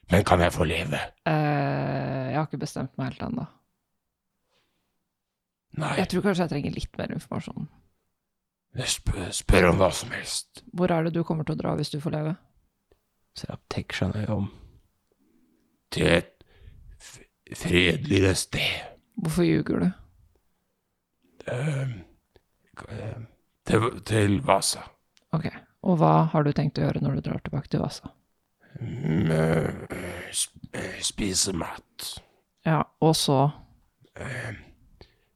Speaker 7: Men kan jeg få leve?
Speaker 6: Eh, jeg har ikke bestemt meg helt ennå.
Speaker 7: Nei.
Speaker 6: Jeg tror kanskje jeg trenger litt mer informasjon.
Speaker 7: jeg sp- Spør om hva som helst.
Speaker 6: Hvor er det du kommer til å dra hvis du får leve?
Speaker 2: Så han tenker seg nøye om.
Speaker 7: Til et f- fredeligere sted.
Speaker 6: Hvorfor ljuger du?
Speaker 7: Ehm, eh, til, til Vasa.
Speaker 6: Ok, og hva har du tenkt å gjøre når du drar tilbake til Vasa?
Speaker 7: Mm, eh, sp- eh, Spise mat. Eh,
Speaker 6: Ja, og så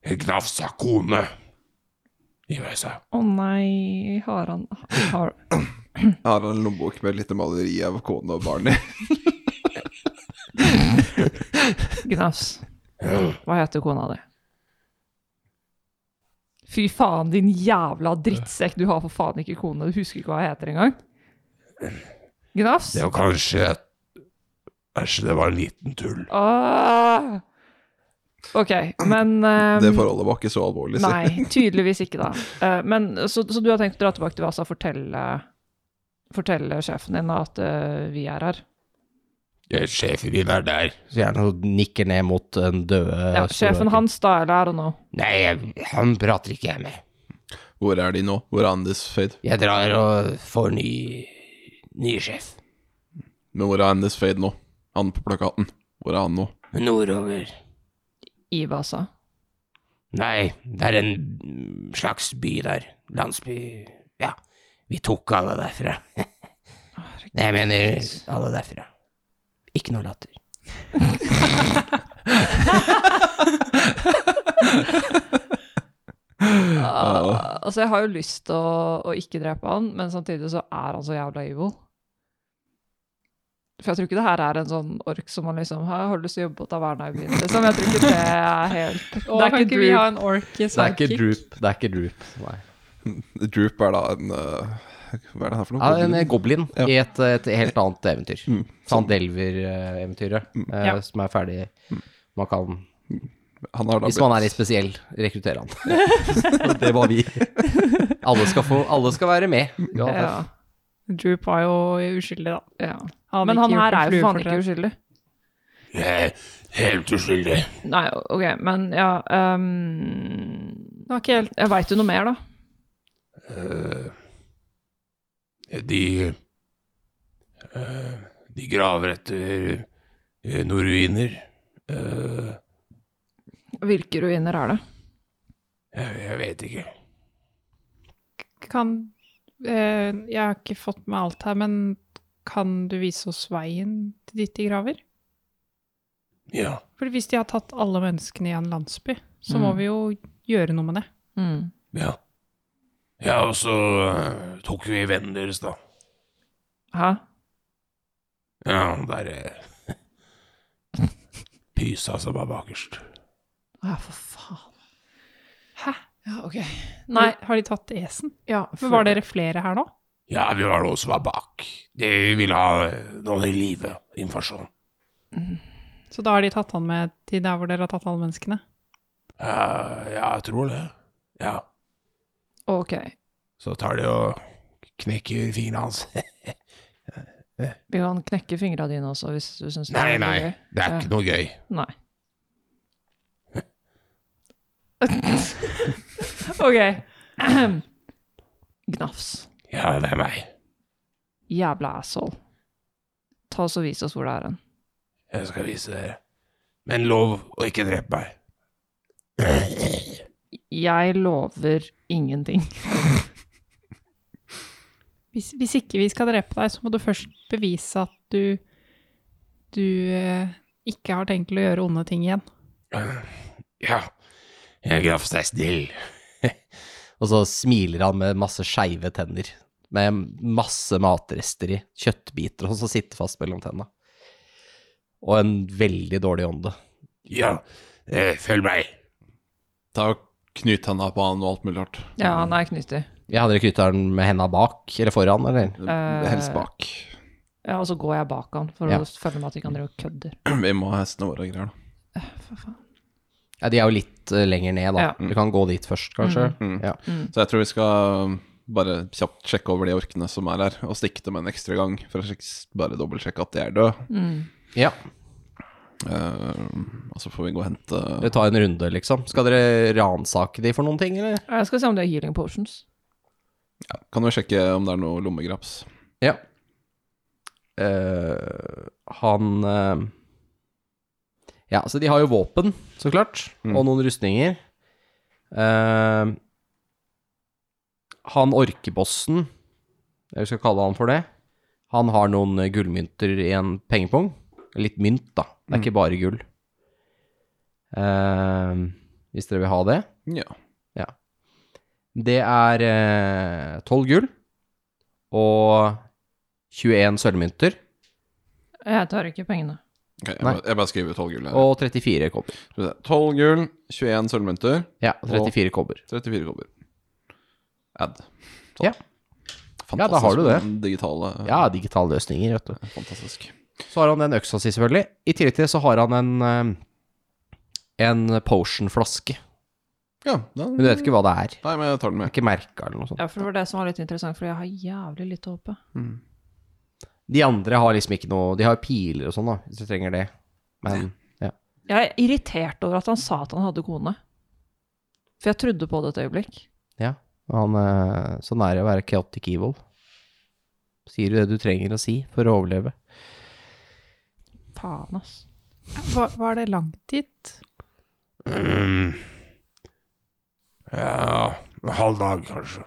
Speaker 7: Jeg Gnafsa kone i Vasa.
Speaker 6: Å nei, har han har,
Speaker 3: Jeg har en lommebok med et lite maleri av kona og barnet.
Speaker 6: Gnafs, hva heter kona di? Fy faen, din jævla drittsekk. Du har for faen ikke kone. Du husker ikke hva jeg heter engang. Gnafs?
Speaker 7: Det var kanskje Æsj, det var en liten tull.
Speaker 6: Åh! Ah. Ok, men ehm,
Speaker 3: Det forholdet var ikke så alvorlig. Så.
Speaker 6: Nei, tydeligvis ikke, da. Eh, men, så, så du har tenkt å dra tilbake til Vasa og fortelle, fortelle sjefen din at eh, vi er her?
Speaker 7: Eh, Sjefen din er der.
Speaker 2: Så gjerne nikker ned mot den døde
Speaker 6: Ja, sjefen hans, da, eller I don't know.
Speaker 7: Nei, jeg- han prater ikke jeg med.
Speaker 3: Hvor er de nå? Hvor er Andis Fade?
Speaker 7: Jeg drar og får ny, ny sjef.
Speaker 3: Men hvor er Andis Fade nå? Han på plakaten. Hvor er han nå?
Speaker 7: Nordover.
Speaker 6: I Vasa.
Speaker 7: Nei, det er en mm, slags by der. Landsby Ja, vi tok alle derfra. Nei, jeg mener alle derfra. Ikke noe latter.
Speaker 6: Ah, altså, jeg har jo lyst til å, å ikke drepe han, men samtidig så er han så jævla evil. For jeg tror ikke det her er en sånn ork som man liksom «Hæ, Har du lyst til å jobbe på Tavernabyen? Liksom. Jeg tror ikke det er helt
Speaker 5: Og da kan ikke vi ha en ork i
Speaker 2: Det er ikke
Speaker 5: sidekick?
Speaker 2: droop. Det er ikke droop. Nei.
Speaker 3: Droop er da en eh, Hva er det her for noe?
Speaker 2: Ja, en eh,
Speaker 3: Goblin?
Speaker 2: goblin
Speaker 3: Ja.
Speaker 2: i et, et helt annet eventyr.
Speaker 3: Mm.
Speaker 2: Sant Elver-eventyret, eh,
Speaker 5: Ja.
Speaker 2: som er ferdig. Man kan,
Speaker 3: Han har da
Speaker 2: hvis man er
Speaker 3: blitt-
Speaker 2: litt spesiell, rekruttere han. det var vi. alle, skal få, alle skal være med.
Speaker 6: Ja.
Speaker 5: Droop var jo uskyldig, da.
Speaker 6: Ja.
Speaker 5: Hadde
Speaker 6: Men han
Speaker 5: ikke gjort en
Speaker 6: her er jo
Speaker 5: flue
Speaker 6: faen
Speaker 5: fortjent.
Speaker 6: ikke uskyldig.
Speaker 7: Jeg er helt uskyldig.
Speaker 6: Nei, ok, men ja ehm,
Speaker 5: Det var ikke helt
Speaker 6: Jeg veit jo noe mer, da.
Speaker 7: Eh, de eh, De graver etter eh, noen ruiner. Eh,
Speaker 6: Hvilke ruiner er det?
Speaker 7: jeg, jeg vet ikke.
Speaker 5: Kan eh, Jeg har ikke fått med alt her, men kan du vise oss veien til dit de graver?
Speaker 7: Ja.
Speaker 5: For hvis de har tatt alle menneskene i en landsby, så
Speaker 6: Mm.
Speaker 5: må vi jo gjøre noe med det.
Speaker 7: Ja. Ja, og så eh, tok vi vennen deres, da.
Speaker 6: Hæ?
Speaker 7: Ja, han der eh, Pysa som var bakerst.
Speaker 6: Ja, for faen.
Speaker 5: Hæ?
Speaker 6: Ja, ok.
Speaker 5: Nei,
Speaker 6: Nei,
Speaker 5: har de tatt esen?
Speaker 6: ja,
Speaker 5: Men var dere flere her nå?
Speaker 7: Ja, vi var noen som var bak. De ville ha eh, noen i live. Informasjon.
Speaker 5: Så da har de tatt han med til der hvor dere har tatt alle menneskene?
Speaker 7: Eh, ja, jeg tror det. Ja.
Speaker 6: Ok,
Speaker 7: Så tar de og knekker fingrene hans.
Speaker 6: vi kan knekke fingra dine også, hvis du syns det
Speaker 7: Nei,
Speaker 6: er
Speaker 7: nei,
Speaker 6: gøy.
Speaker 7: det er
Speaker 6: Ja.
Speaker 7: ikke noe gøy.
Speaker 6: Nei. ok. Gnafs.
Speaker 7: Ja, det er meg.
Speaker 6: Jævla asshole. Ta oss og vis oss hvor det er hen.
Speaker 7: Jeg skal vise dere. Men lov å ikke drepe meg.
Speaker 6: Jeg lover ingenting.
Speaker 5: Hvis, hvis ikke vi skal drepe deg, så må du først bevise at du, du eh, ikke har tenkt til å gjøre onde ting igjen.
Speaker 7: Ja, jeg grafs deg snill.
Speaker 2: Og så smiler han med masse skeive tenner. Med masse matrester i. Kjøttbiter og sånn som sitter fast mellom tenna. Og en veldig dårlig ånde.
Speaker 7: Ja, eh, følg meg.
Speaker 3: Ta og knyt henda på han og alt mulig rart.
Speaker 6: Ja, han er knyttig.
Speaker 2: Ja, dere knytter den med henda bak, eller foran, eller?
Speaker 6: Eh.
Speaker 3: Helst bak.
Speaker 6: Ja, og så går jeg bak han for
Speaker 2: Ja.
Speaker 6: å følge med at de ikke andre kødder.
Speaker 3: Vi må ha hestene våre og greier, da.
Speaker 6: For faen.
Speaker 2: Ja, de er jo litt eh, lenger ned, da.
Speaker 6: Ja.
Speaker 2: Du kan gå dit først, kanskje. Ja.
Speaker 6: Mm.
Speaker 3: Så jeg tror vi skal um, bare kjapt sjekke over de orkene som er her, og stikke dem en ekstra gang for å sjekk- bare dobbeltsjekke at de er døde.
Speaker 2: ja.
Speaker 6: Mm.
Speaker 3: Eh, og så får vi gå og hente
Speaker 2: Dere tar en runde, liksom. Skal dere ransake de for noen ting, eller?
Speaker 6: Jeg skal se om det er healing potions.
Speaker 3: ja, Kan vi sjekke om det er noe lommegraps?
Speaker 2: Ja. Eh, han eh, Ja, så de har jo våpen, så klart, og noen rustninger. Eh, han orkebossen, eller vi skal kalle han for det, han har noen eh, gullmynter i en pengepung. Litt mynt, da. Det er ikke bare gull. Eh, hvis dere vil ha det.
Speaker 3: Ja.
Speaker 2: Ja. Det er eh, 12 gull og 21 sølvmynter
Speaker 6: Jeg tar ikke pengene.
Speaker 3: Ok, jeg,
Speaker 2: Nei.
Speaker 3: bare, jeg bare skriver 12 gull her.
Speaker 2: og 34 kobber.
Speaker 3: Skal vi se. 12 gull, 21 sølvmynter,
Speaker 2: Ja, 34 kobber.
Speaker 3: 34 kobber. Add.
Speaker 2: Ja. Ja, da har du det.
Speaker 3: med den Digitale.
Speaker 2: Ja, digitale løsninger, vet du.
Speaker 3: Fantastisk.
Speaker 2: Så har han den øksa si, selvfølgelig. I tillegg til det så har han en eh, en potion-flaske.
Speaker 3: Ja,
Speaker 2: Men
Speaker 3: den,
Speaker 2: du vet ikke hva det er.
Speaker 3: Nei, men jeg tar den
Speaker 2: Det er
Speaker 3: med.
Speaker 2: ikke merka eller noe sånt.
Speaker 6: Ja, for det var det som var litt interessant, for jeg har jævlig litt å håpe.
Speaker 2: Mm. De andre har liksom ikke noe De har piler og sånn, da, hvis du trenger det. Men
Speaker 6: Jeg er irritert over at han sa at han hadde kone. For jeg trodde på det et øyeblikk.
Speaker 2: ja. Han, eh, sånn er det å være chaotic evil. Sier du det du trenger å si for å overleve.
Speaker 6: Faen, ass.
Speaker 5: Var, var det langt dit?
Speaker 7: Mm. Ja, en halv dag, kanskje.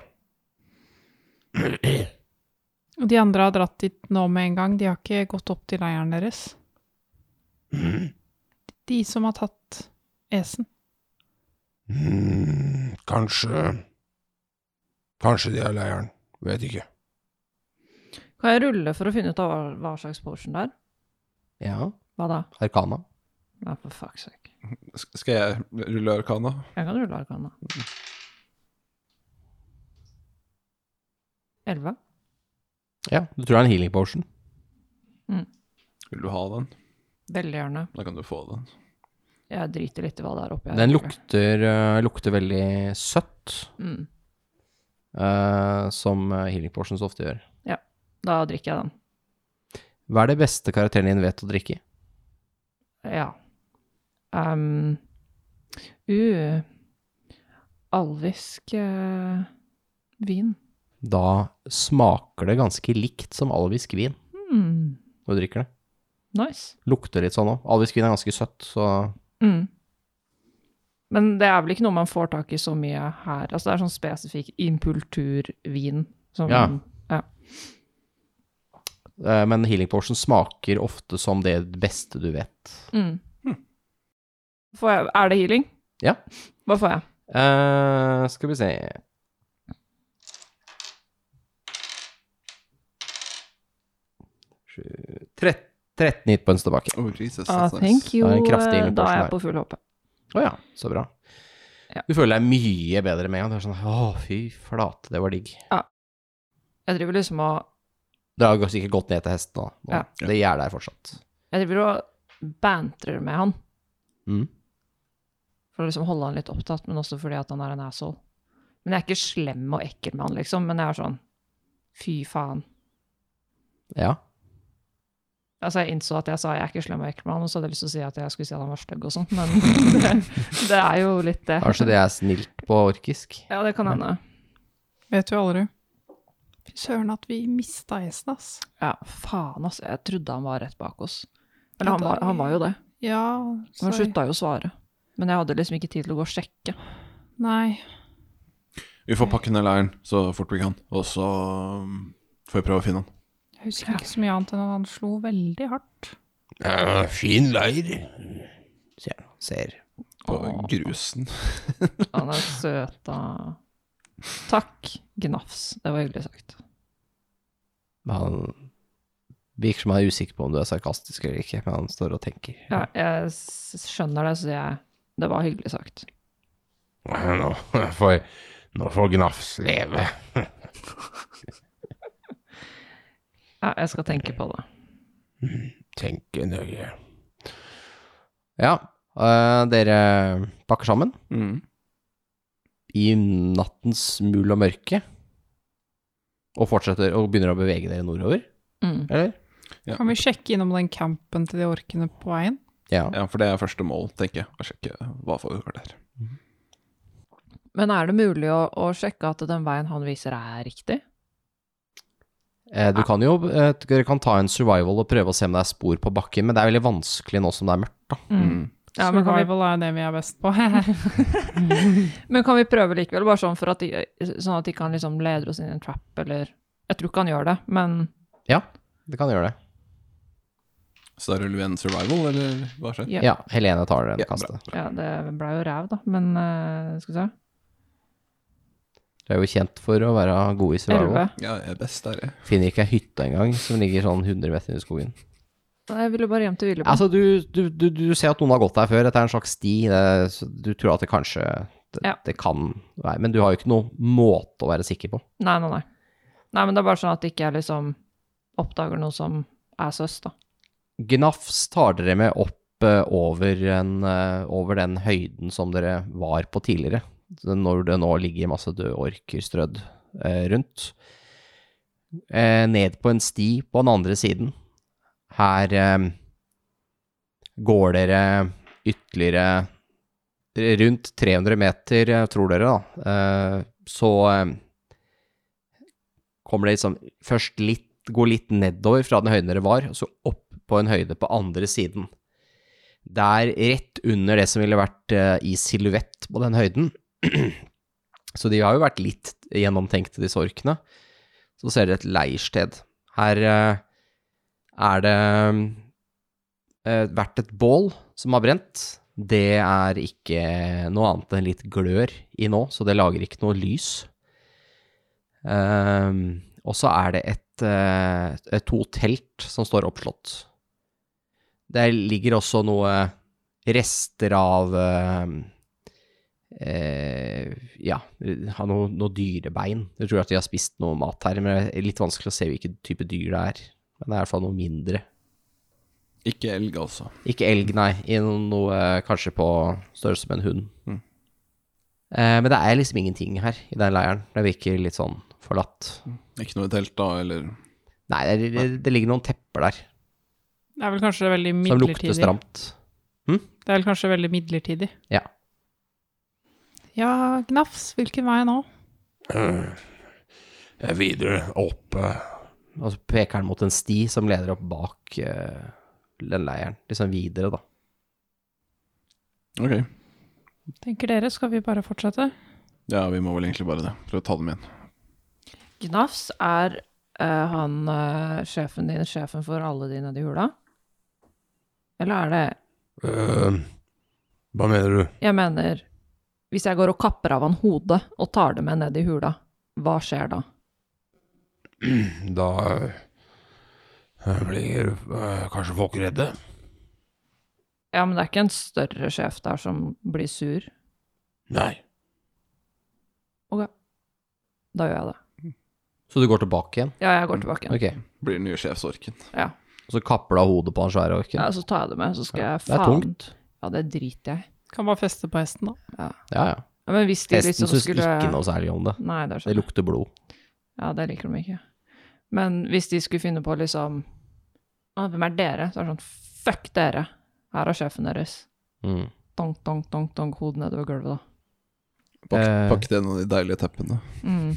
Speaker 5: Og de andre har dratt dit nå med en gang. De har ikke gått opp til leiren deres. De som har tatt esen.
Speaker 7: Mm, kanskje Kanskje de er leiren. Vet ikke.
Speaker 6: Kan jeg rulle for å finne ut av hva, hva slags potion det er?
Speaker 2: Ja.
Speaker 6: Hva da?
Speaker 2: Arkana.
Speaker 6: Nei, for fuck's sake.
Speaker 3: Sk- Skal jeg rulle arkana?
Speaker 6: Jeg kan rulle arkana. Elleve?
Speaker 2: Ja, du tror det er en healing potion.
Speaker 3: Vil du ha den?
Speaker 6: Veldig gjerne.
Speaker 3: Da kan du få den.
Speaker 6: Jeg driter litt i hva det er oppi her.
Speaker 2: Den lukter, eh, lukter veldig søtt,
Speaker 6: Mm.
Speaker 2: eh, som eh, healing potions ofte gjør.
Speaker 6: Da drikker jeg den.
Speaker 2: Hva er det beste karakteren din vet å drikke?
Speaker 6: Ja. Um, uh, alvisk eh, vin.
Speaker 2: Da smaker det ganske likt som alvisk vin
Speaker 6: Hmm,
Speaker 2: når du drikker det.
Speaker 6: nice.
Speaker 2: Lukter litt sånn òg. Alvisk vin er ganske søtt, så
Speaker 6: Mm. Men det er vel ikke noe man får tak i så mye her. Altså, det er sånn spesifikk impulturvin. Som,
Speaker 2: Ja. eh, Men healing potion smaker ofte som det beste du vet.
Speaker 6: Mm. Får jeg, er det healing?
Speaker 2: Ja.
Speaker 6: Hva får jeg?
Speaker 2: Eh, skal vi se Sju, trett- 13 hit points tilbake.
Speaker 3: Oh, Jesus,
Speaker 6: Ah,
Speaker 3: that's nice.
Speaker 6: thank you.
Speaker 2: Det er Sånn- en kraftig
Speaker 6: eh, Da
Speaker 2: impulsion
Speaker 6: er
Speaker 2: her.
Speaker 6: jeg på full håpe.
Speaker 2: Å ja, så bra.
Speaker 6: Ja.
Speaker 2: Du føler deg mye bedre med en gang. Du er sånn Å, fy flate, det var digg.
Speaker 6: Jeg driver liksom og
Speaker 2: Det har sikkert gått ned til hesten nå. nå.
Speaker 6: Ja.
Speaker 2: Det gjør det her fortsatt.
Speaker 6: Jeg driver og bantrer med han.
Speaker 2: Mm.
Speaker 6: For å liksom holde han litt opptatt, men også fordi at han er en asshole. Men jeg er ikke slem og ekkel med han, liksom. Men jeg er sånn Fy faen.
Speaker 2: Ja.
Speaker 6: Altså, jeg innså at jeg sa jeg er ikke slem og ekkel med han, og så hadde jeg lyst til å si at jeg skulle si at han var stygg og sånn, men det, det er jo litt det.
Speaker 2: Kanskje det er snilt på orkisk.
Speaker 6: Ja, det kan hende.
Speaker 5: Vet jo aldri. Fy søren at vi mista hesten, ass.
Speaker 6: Ja, faen, altså. Jeg trodde han var rett bak oss. Eller han var, han var jo det.
Speaker 5: Ja,
Speaker 6: Han
Speaker 5: sorry.
Speaker 6: slutta jo å svare. Men jeg hadde liksom ikke tid til å gå og sjekke.
Speaker 5: Nei.
Speaker 3: Vi får pakke ned leiren så fort vi kan, og så um, får vi prøve å finne han.
Speaker 5: Jeg husker ikke så mye annet enn at han slo veldig hardt.
Speaker 7: Ja, fin leir.
Speaker 2: Ser, ser.
Speaker 3: På
Speaker 6: Åh.
Speaker 3: grusen.
Speaker 6: Han er søt, da. Takk, gnafs. Det var hyggelig sagt.
Speaker 2: Men Han virker som han er usikker på om du er sarkastisk eller ikke, men han står og tenker.
Speaker 6: Ja, jeg s- skjønner det, så jeg Det var hyggelig sagt.
Speaker 7: Ja, Nå får, nå får Gnafs leve.
Speaker 6: Ja, jeg skal tenke på det.
Speaker 7: Tenke nøye.
Speaker 2: Ja, øh, dere pakker sammen.
Speaker 3: Mm.
Speaker 2: i nattens mul og mørke, og fortsetter og begynner å bevege dere nordover,
Speaker 6: Mm.
Speaker 2: eller?
Speaker 5: Kan vi sjekke innom den campen til de orkene på veien?
Speaker 2: Ja.
Speaker 3: Ja, for det er første mål, tenker jeg. Å sjekke hva for kvarter.
Speaker 6: Men er det mulig å, å sjekke at den veien han viser, er riktig?
Speaker 2: Eh, Du kan jo, eh, dere kan ta en survival og prøve å se om det er spor på bakken, men det er veldig vanskelig nå som det er mørkt.
Speaker 3: Mm.
Speaker 6: Ja, men kan,
Speaker 5: Survival er det vi er best på.
Speaker 6: vi, men kan vi prøve likevel, bare sånn, for at de, sånn at de kan liksom lede oss inn i en trap, eller Jeg tror ikke han gjør det, men
Speaker 2: Ja, det kan gjøre det.
Speaker 3: Så da ruller vi en survival, eller hva skjer?
Speaker 6: Ja.
Speaker 2: Ja, Helene tar den
Speaker 3: Ja,
Speaker 2: kastet.
Speaker 6: ja, det ble jo ræv, da. Men eh, skal vi se
Speaker 2: Dere er jo kjent for å være gode i survival.
Speaker 6: Elleve.
Speaker 3: Ja, jeg er best der, jeg.
Speaker 2: Finner ikke ei hytte engang som ligger sånn 100 meter inn i skogen.
Speaker 6: Nei, Jeg ville bare hjem til Vilebo.
Speaker 2: Altså, du, du, du, du ser at noen har gått der før, dette er en slags sti, det, så du tror at det kanskje, det,
Speaker 6: Ja.
Speaker 2: det kan være, men du har jo ikke noen måte å være sikker på.
Speaker 6: Nei, nei, nei. Nei, men det er bare sånn at ikke jeg liksom oppdager noe som er søs, da.
Speaker 2: Gnafs tar dere med opp eh, over, en, eh, over den høyden som dere var på tidligere, når det nå ligger masse døde orker strødd eh, rundt. Eh, ned på en sti på den andre siden. Her eh, går dere ytterligere eh, rundt 300 meter, eh, tror dere, da. Eh, så eh, kommer det liksom først litt, går litt nedover fra den høyden dere var, og så opp på en høyde på andre siden. Der rett under det som ville vært eh, i silhuett på den høyden, så de har jo vært litt gjennomtenkte, disse orkene, så ser dere et leirsted. Her eh, er det eh, vært et bål som har brent. Det er ikke noe annet enn litt glør i nå, så det lager ikke noe lys. Ehm, og så er det et, eh, et to telt som står oppslått. Der ligger også noe rester av eh, eh, ja, ha noe, noe dyrebein. Jeg tror at de har spist noe mat her, men det er litt vanskelig å se hvilken type dyr det er. Men det er i hvert fall noe mindre.
Speaker 3: Ikke elg, altså.
Speaker 2: Ikke elg, nei. I noe, noe eh, kanskje på størrelse med en hund. Eh, men det er liksom ingenting her i den leiren. Det virker litt sånn forlatt.
Speaker 3: Ikke noe i telt, da, eller
Speaker 2: Nei, det, det, det ligger noen tepper der
Speaker 5: Det er vel kanskje veldig
Speaker 2: som lukter
Speaker 5: midlertidig.
Speaker 2: stramt.
Speaker 5: Det er vel kanskje veldig midlertidig.
Speaker 2: Ja.
Speaker 5: Ja, Gnafs, hvilken vei nå?
Speaker 7: Jeg er Eh, videre opp eh,
Speaker 2: Og så peker han mot en sti som leder opp bak eh, den leiren. Liksom videre, da.
Speaker 3: Ok.
Speaker 5: Tenker dere, skal vi bare fortsette?
Speaker 3: Ja, vi må vel egentlig bare det, for å ta dem igjen.
Speaker 6: Gnafs er eh, han eh, sjefen din, sjefen for alle de nede i hula? Eller er det
Speaker 7: eh, Hva mener du?
Speaker 6: Jeg mener, hvis jeg går og kapper av han hodet og tar det med ned i hula, hva skjer da?
Speaker 7: Da eh, blir eh, kanskje folk redde?
Speaker 6: Ja, men det er ikke en større sjef der som blir sur.
Speaker 7: Nei.
Speaker 6: Ok, da gjør jeg det.
Speaker 2: Så du går tilbake igjen?
Speaker 6: Ja, jeg går tilbake. igjen.
Speaker 2: Mm, Ok.
Speaker 3: Blir den nye sjefsorken.
Speaker 6: Ja.
Speaker 2: Og så kapper du av hodet på han svære orken?
Speaker 6: ja, så tar jeg det med, så skal jeg
Speaker 2: Det er
Speaker 6: faen-
Speaker 2: tungt.
Speaker 6: Ja, det driter jeg. i.
Speaker 5: Kan bare feste på hesten, da.
Speaker 2: Ja, ja.
Speaker 6: Ja, men hvis de
Speaker 2: Hesten
Speaker 6: liksom
Speaker 2: syns
Speaker 6: skulle
Speaker 2: ikke noe særlig om det.
Speaker 6: Nei, det er
Speaker 2: Det
Speaker 6: sånn.
Speaker 2: lukter blod.
Speaker 6: Ja, det liker de ikke. Men hvis de skulle finne på liksom «Å, Hvem er dere? Så er det sånn Fuck dere! Her er sjefen deres.
Speaker 2: Mm.
Speaker 6: Donk, donk, donk, donk, hodet nedover gulvet, da.
Speaker 3: Pakk,
Speaker 2: Eh.
Speaker 3: pakk det inn i de deilige teppene.
Speaker 6: Mm,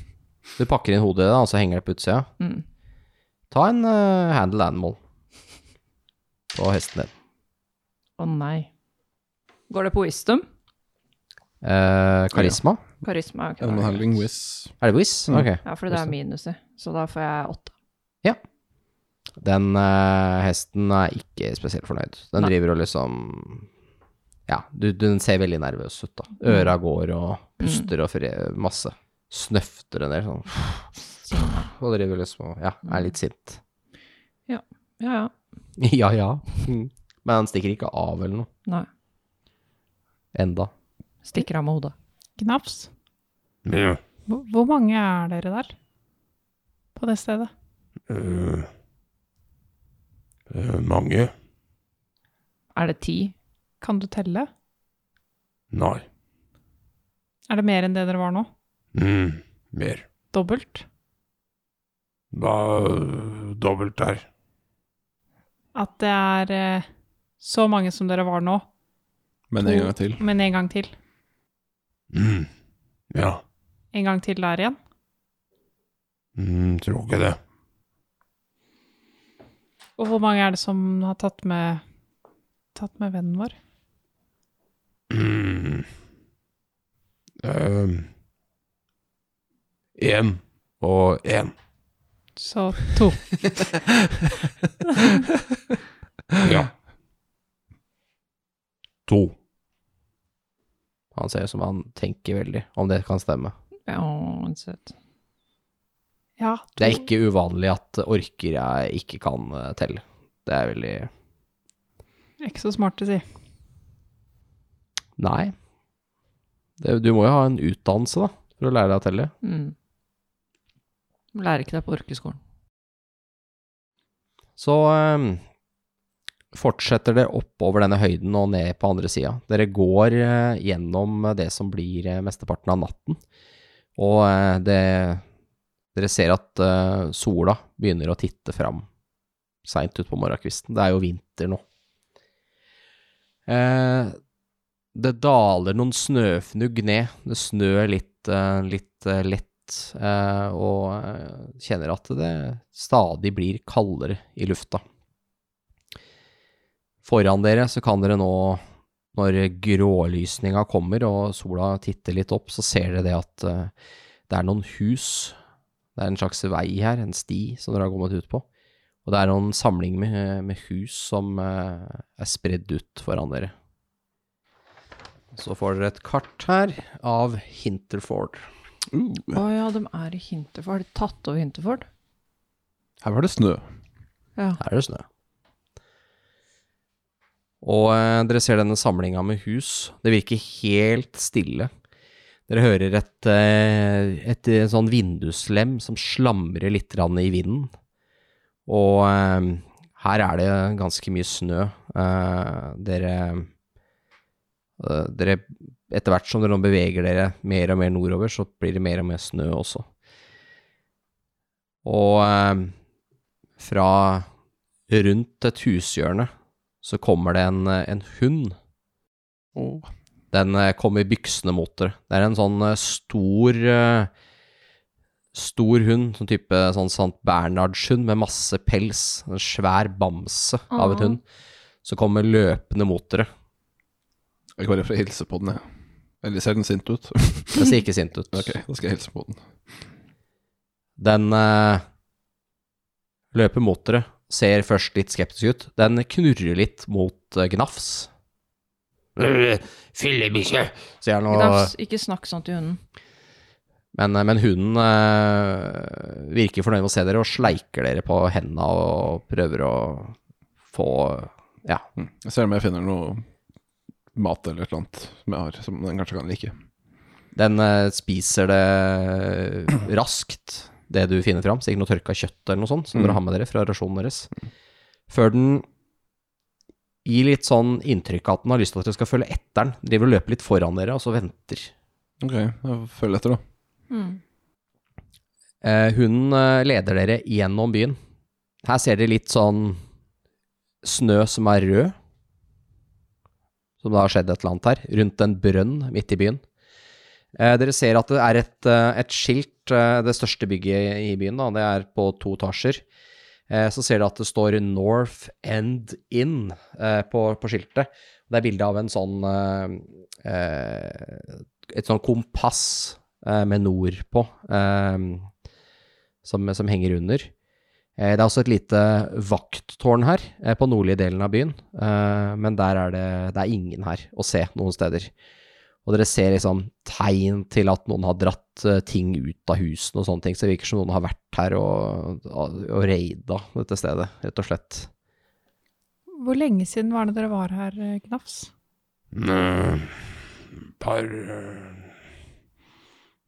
Speaker 2: Du pakker inn hodet, da, og så henger det på utsida.
Speaker 6: mm.
Speaker 2: Ta en eh, handle animal på hesten din.
Speaker 6: Å nei. Går det på wisdom?
Speaker 2: Eh, karisma?
Speaker 6: Karisma? ok, da er
Speaker 3: Animal
Speaker 6: det
Speaker 3: handling
Speaker 6: greit.
Speaker 3: whiz.
Speaker 2: Er det whiz? Ok.
Speaker 6: Ja, for det er minus i, så da får jeg åtte.
Speaker 2: Den eh, hesten er ikke spesielt fornøyd. Den
Speaker 6: Nei.
Speaker 2: driver og liksom Ja, du, du, den ser veldig nervøs ut, da. Øra går og puster og fre masse. Snøfter en del sånn. Og driver liksom og Ja, er litt sint.
Speaker 6: Ja, ja.
Speaker 2: ja ja. Mm. Men han stikker ikke av eller noe.
Speaker 6: Nei.
Speaker 2: Enda.
Speaker 6: Stikker av med hodet.
Speaker 5: Gnafs,
Speaker 7: Ja.
Speaker 5: hvor, hvor mange er dere der? På det stedet?
Speaker 7: Eh, eh, mange?
Speaker 6: Er det ti?
Speaker 5: Kan du telle?
Speaker 7: Nei.
Speaker 5: Er det mer enn det dere var nå?
Speaker 7: Mm, mer.
Speaker 5: Dobbelt?
Speaker 7: Da eh, dobbelt der.
Speaker 5: At det er eh, så mange som dere var nå,
Speaker 3: Men en gang til.
Speaker 5: men en gang til?
Speaker 7: Mm. Ja.
Speaker 5: En gang til der igjen?
Speaker 7: Mm, tror ikke det.
Speaker 5: Og hvor mange er det som har tatt med, tatt med vennen vår?
Speaker 7: Mm. Eh, En og en.
Speaker 5: Så to.
Speaker 7: Ja. To.
Speaker 2: Han ser ut som han tenker veldig, om det kan stemme.
Speaker 6: Ja, å, søt.
Speaker 5: Ja,
Speaker 2: Det er ikke uvanlig at orker jeg ikke kan eh, telle. Det er veldig
Speaker 5: ikke så smart å si.
Speaker 2: Nei. Det, du må jo ha en utdannelse, da, for å lære deg å telle.
Speaker 6: Mm. Lærer ikke det på orkeskolen.
Speaker 2: Så eh, fortsetter det oppover denne høyden og ned på andre sida. Dere går eh, gjennom det som blir eh, mesteparten av natten, og eh, det Dere ser at eh, sola begynner å titte fram seint utpå morgenkvisten. Det er jo vinter nå. Eh, det daler noen snøfnugg ned. Det snør litt, eh, litt eh, lett, eh, og eh, kjenner at det stadig blir kaldere i lufta. Foran dere så kan dere nå, når grålysninga kommer og sola titter litt opp, så ser dere det at eh, det er noen hus. Det er en slags vei her, en sti som dere har kommet ut på. Og det er noen samling med, med hus som eh, er spredd ut foran dere. Så får dere et kart her av Hinterford.
Speaker 3: Uh,
Speaker 6: Å ja, de er i Hinterford. Har de tatt over Hinterford?
Speaker 3: her var det snø.
Speaker 6: Ja.
Speaker 2: Her er det snø. Og eh, dere ser denne samlinga med hus. Det virker helt stille. Dere hører et, eh, et, eh, sånn vinduslem som slamrer litt grann i vinden. Og eh, her er det ganske mye snø. Eh, Dere, eh, dere Etter hvert som dere nå beveger dere mer og mer nordover, så blir det mer og mer snø også. Og eh, fra rundt et hushjørne så kommer det en, en hund.
Speaker 3: Åh.
Speaker 2: Den eh, kommer byksende mot dere. Det er en sånn eh, stor eh, Stor hund, sånn type sånn Sant Bernhardshund med masse pels. En svær bamse av
Speaker 6: Åh.
Speaker 2: en hund. Som kommer løpende mot dere.
Speaker 3: Jeg går rett for å hilse på den, jeg. Eller ser den sint ut?
Speaker 2: Den ser ikke sint ut.
Speaker 3: ok, da skal jeg hilse på den.
Speaker 2: Den eh, løper mot dere, ser først litt skeptisk ut. Den knurrer litt mot eh, Gnafs.
Speaker 7: Øh, Fillebikkje.
Speaker 2: Sier den, og-
Speaker 6: Gnafs, ikke snakk sånn til hunden.
Speaker 2: Men, men hunden eh, virker fornøyd med å se dere og sleiker dere på hendene og prøver å få Ja.
Speaker 3: Mm. Jeg ser om jeg finner noe mat eller et eller annet som jeg har, som den kanskje kan like.
Speaker 2: Den eh, spiser det raskt, det du finner fram. Sikkert noe tørka kjøtt eller noe sånt som
Speaker 3: Mm.
Speaker 2: dere har med dere fra rasjonen deres. Før den gir litt sånn inntrykk av at den har lyst til at dere skal følge etter den. Driver og løper litt foran dere, og så venter.
Speaker 3: Ok, jeg følger etter, da.
Speaker 6: Mm.
Speaker 2: Eh, Hunden eh, leder dere gjennom byen. Her ser dere litt sånn snø som er rød. Som det har skjedd et eller annet her. Rundt en brønn midt i byen. Eh, Dere ser at det er et, eh, et skilt, eh, det største bygget i byen, da, det er på to etasjer. Eh, Så ser dere at det står North End Inn eh, på, på skiltet. Det er bilde av en sånn eh, eh, Et sånn kompass eh, med nord på, eh, som, som henger under. Eh, Det er også et lite vakttårn her, eh, på nordlige delen av byen, eh, men der er det, det er ingen her å se noen steder. Og dere ser liksom tegn til at noen har dratt eh, ting ut av husene og sånne ting, så det virker som noen har vært her og, og, og raida dette stedet, rett og slett.
Speaker 5: Hvor lenge siden var det dere var her, eh, Gnafs?
Speaker 7: Mm, Par øh,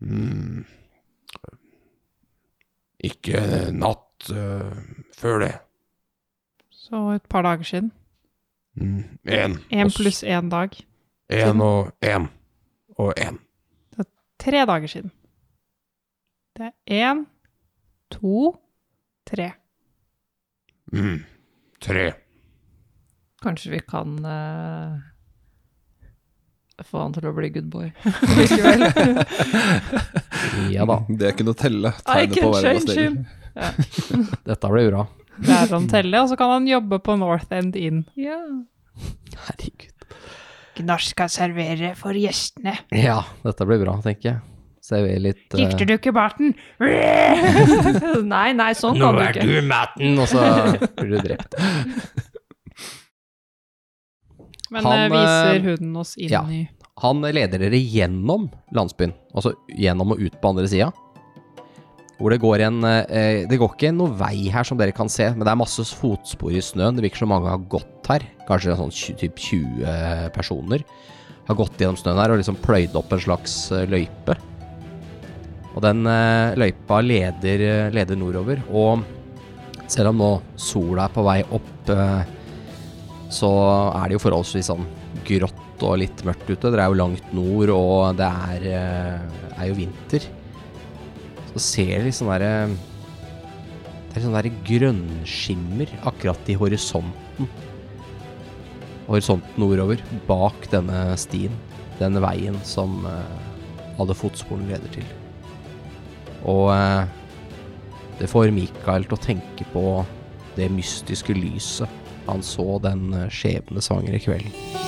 Speaker 7: mm, Ikke natt øh, før det.
Speaker 5: Så et par dager siden.
Speaker 7: Én.
Speaker 5: Én pluss én dag.
Speaker 7: Én Mm, og én. Og én.
Speaker 5: Tre dager siden. Det er én, to, tre.
Speaker 7: Mm. Tre.
Speaker 6: Kanskje vi kan eh, få han til å bli good boy likevel.
Speaker 2: Ja da,
Speaker 3: Det kunne telle.
Speaker 6: I
Speaker 3: Tegnet på
Speaker 6: can
Speaker 3: hver
Speaker 6: change
Speaker 3: steg.
Speaker 6: him.
Speaker 2: dette ble bra.
Speaker 5: Der han teller, sånn og så kan han jobbe på North End Inn.
Speaker 6: Ja.
Speaker 2: Herregud.
Speaker 5: Gnasj skal servere for gjestene.
Speaker 2: Ja, dette blir bra, tenker jeg. Server litt eh,
Speaker 5: du ikke barten?
Speaker 6: nei, nei, sånn
Speaker 7: Nå
Speaker 6: kan du
Speaker 7: er
Speaker 6: ikke.
Speaker 7: du maten!
Speaker 2: Mm, og så blir du drept.
Speaker 5: Men
Speaker 2: Han,
Speaker 5: eh,
Speaker 2: eh,
Speaker 5: viser hunden oss inn
Speaker 2: ja.
Speaker 5: i
Speaker 2: Han leder dere gjennom landsbyen, altså gjennom og ut på andre sida. Hvor det går en eh, Det går ikke noe vei her som dere kan se, men det er masse fotspor i snøen. Det virker som mange har gått her, kanskje sånn tju- typ 20 personer. Har gått gjennom snøen her og liksom pløyd opp en slags eh, løype. Og den eh, løypa leder, eh, leder nordover, og selv om nå sola er på vei opp eh, så er det jo forholdsvis sånn grått og litt mørkt ute. Dere er jo langt nord, og det er, eh, er jo vinter. Så ser dere litt sånn derre Det er litt sånn derre grønnskimmer akkurat i horisonten. Horisonten nordover, bak denne stien. Den veien som eh, alle fotsporene leder til. Og eh, det får Mikael til å tenke på det mystiske lyset han så den eh, skjebnesvangre kvelden.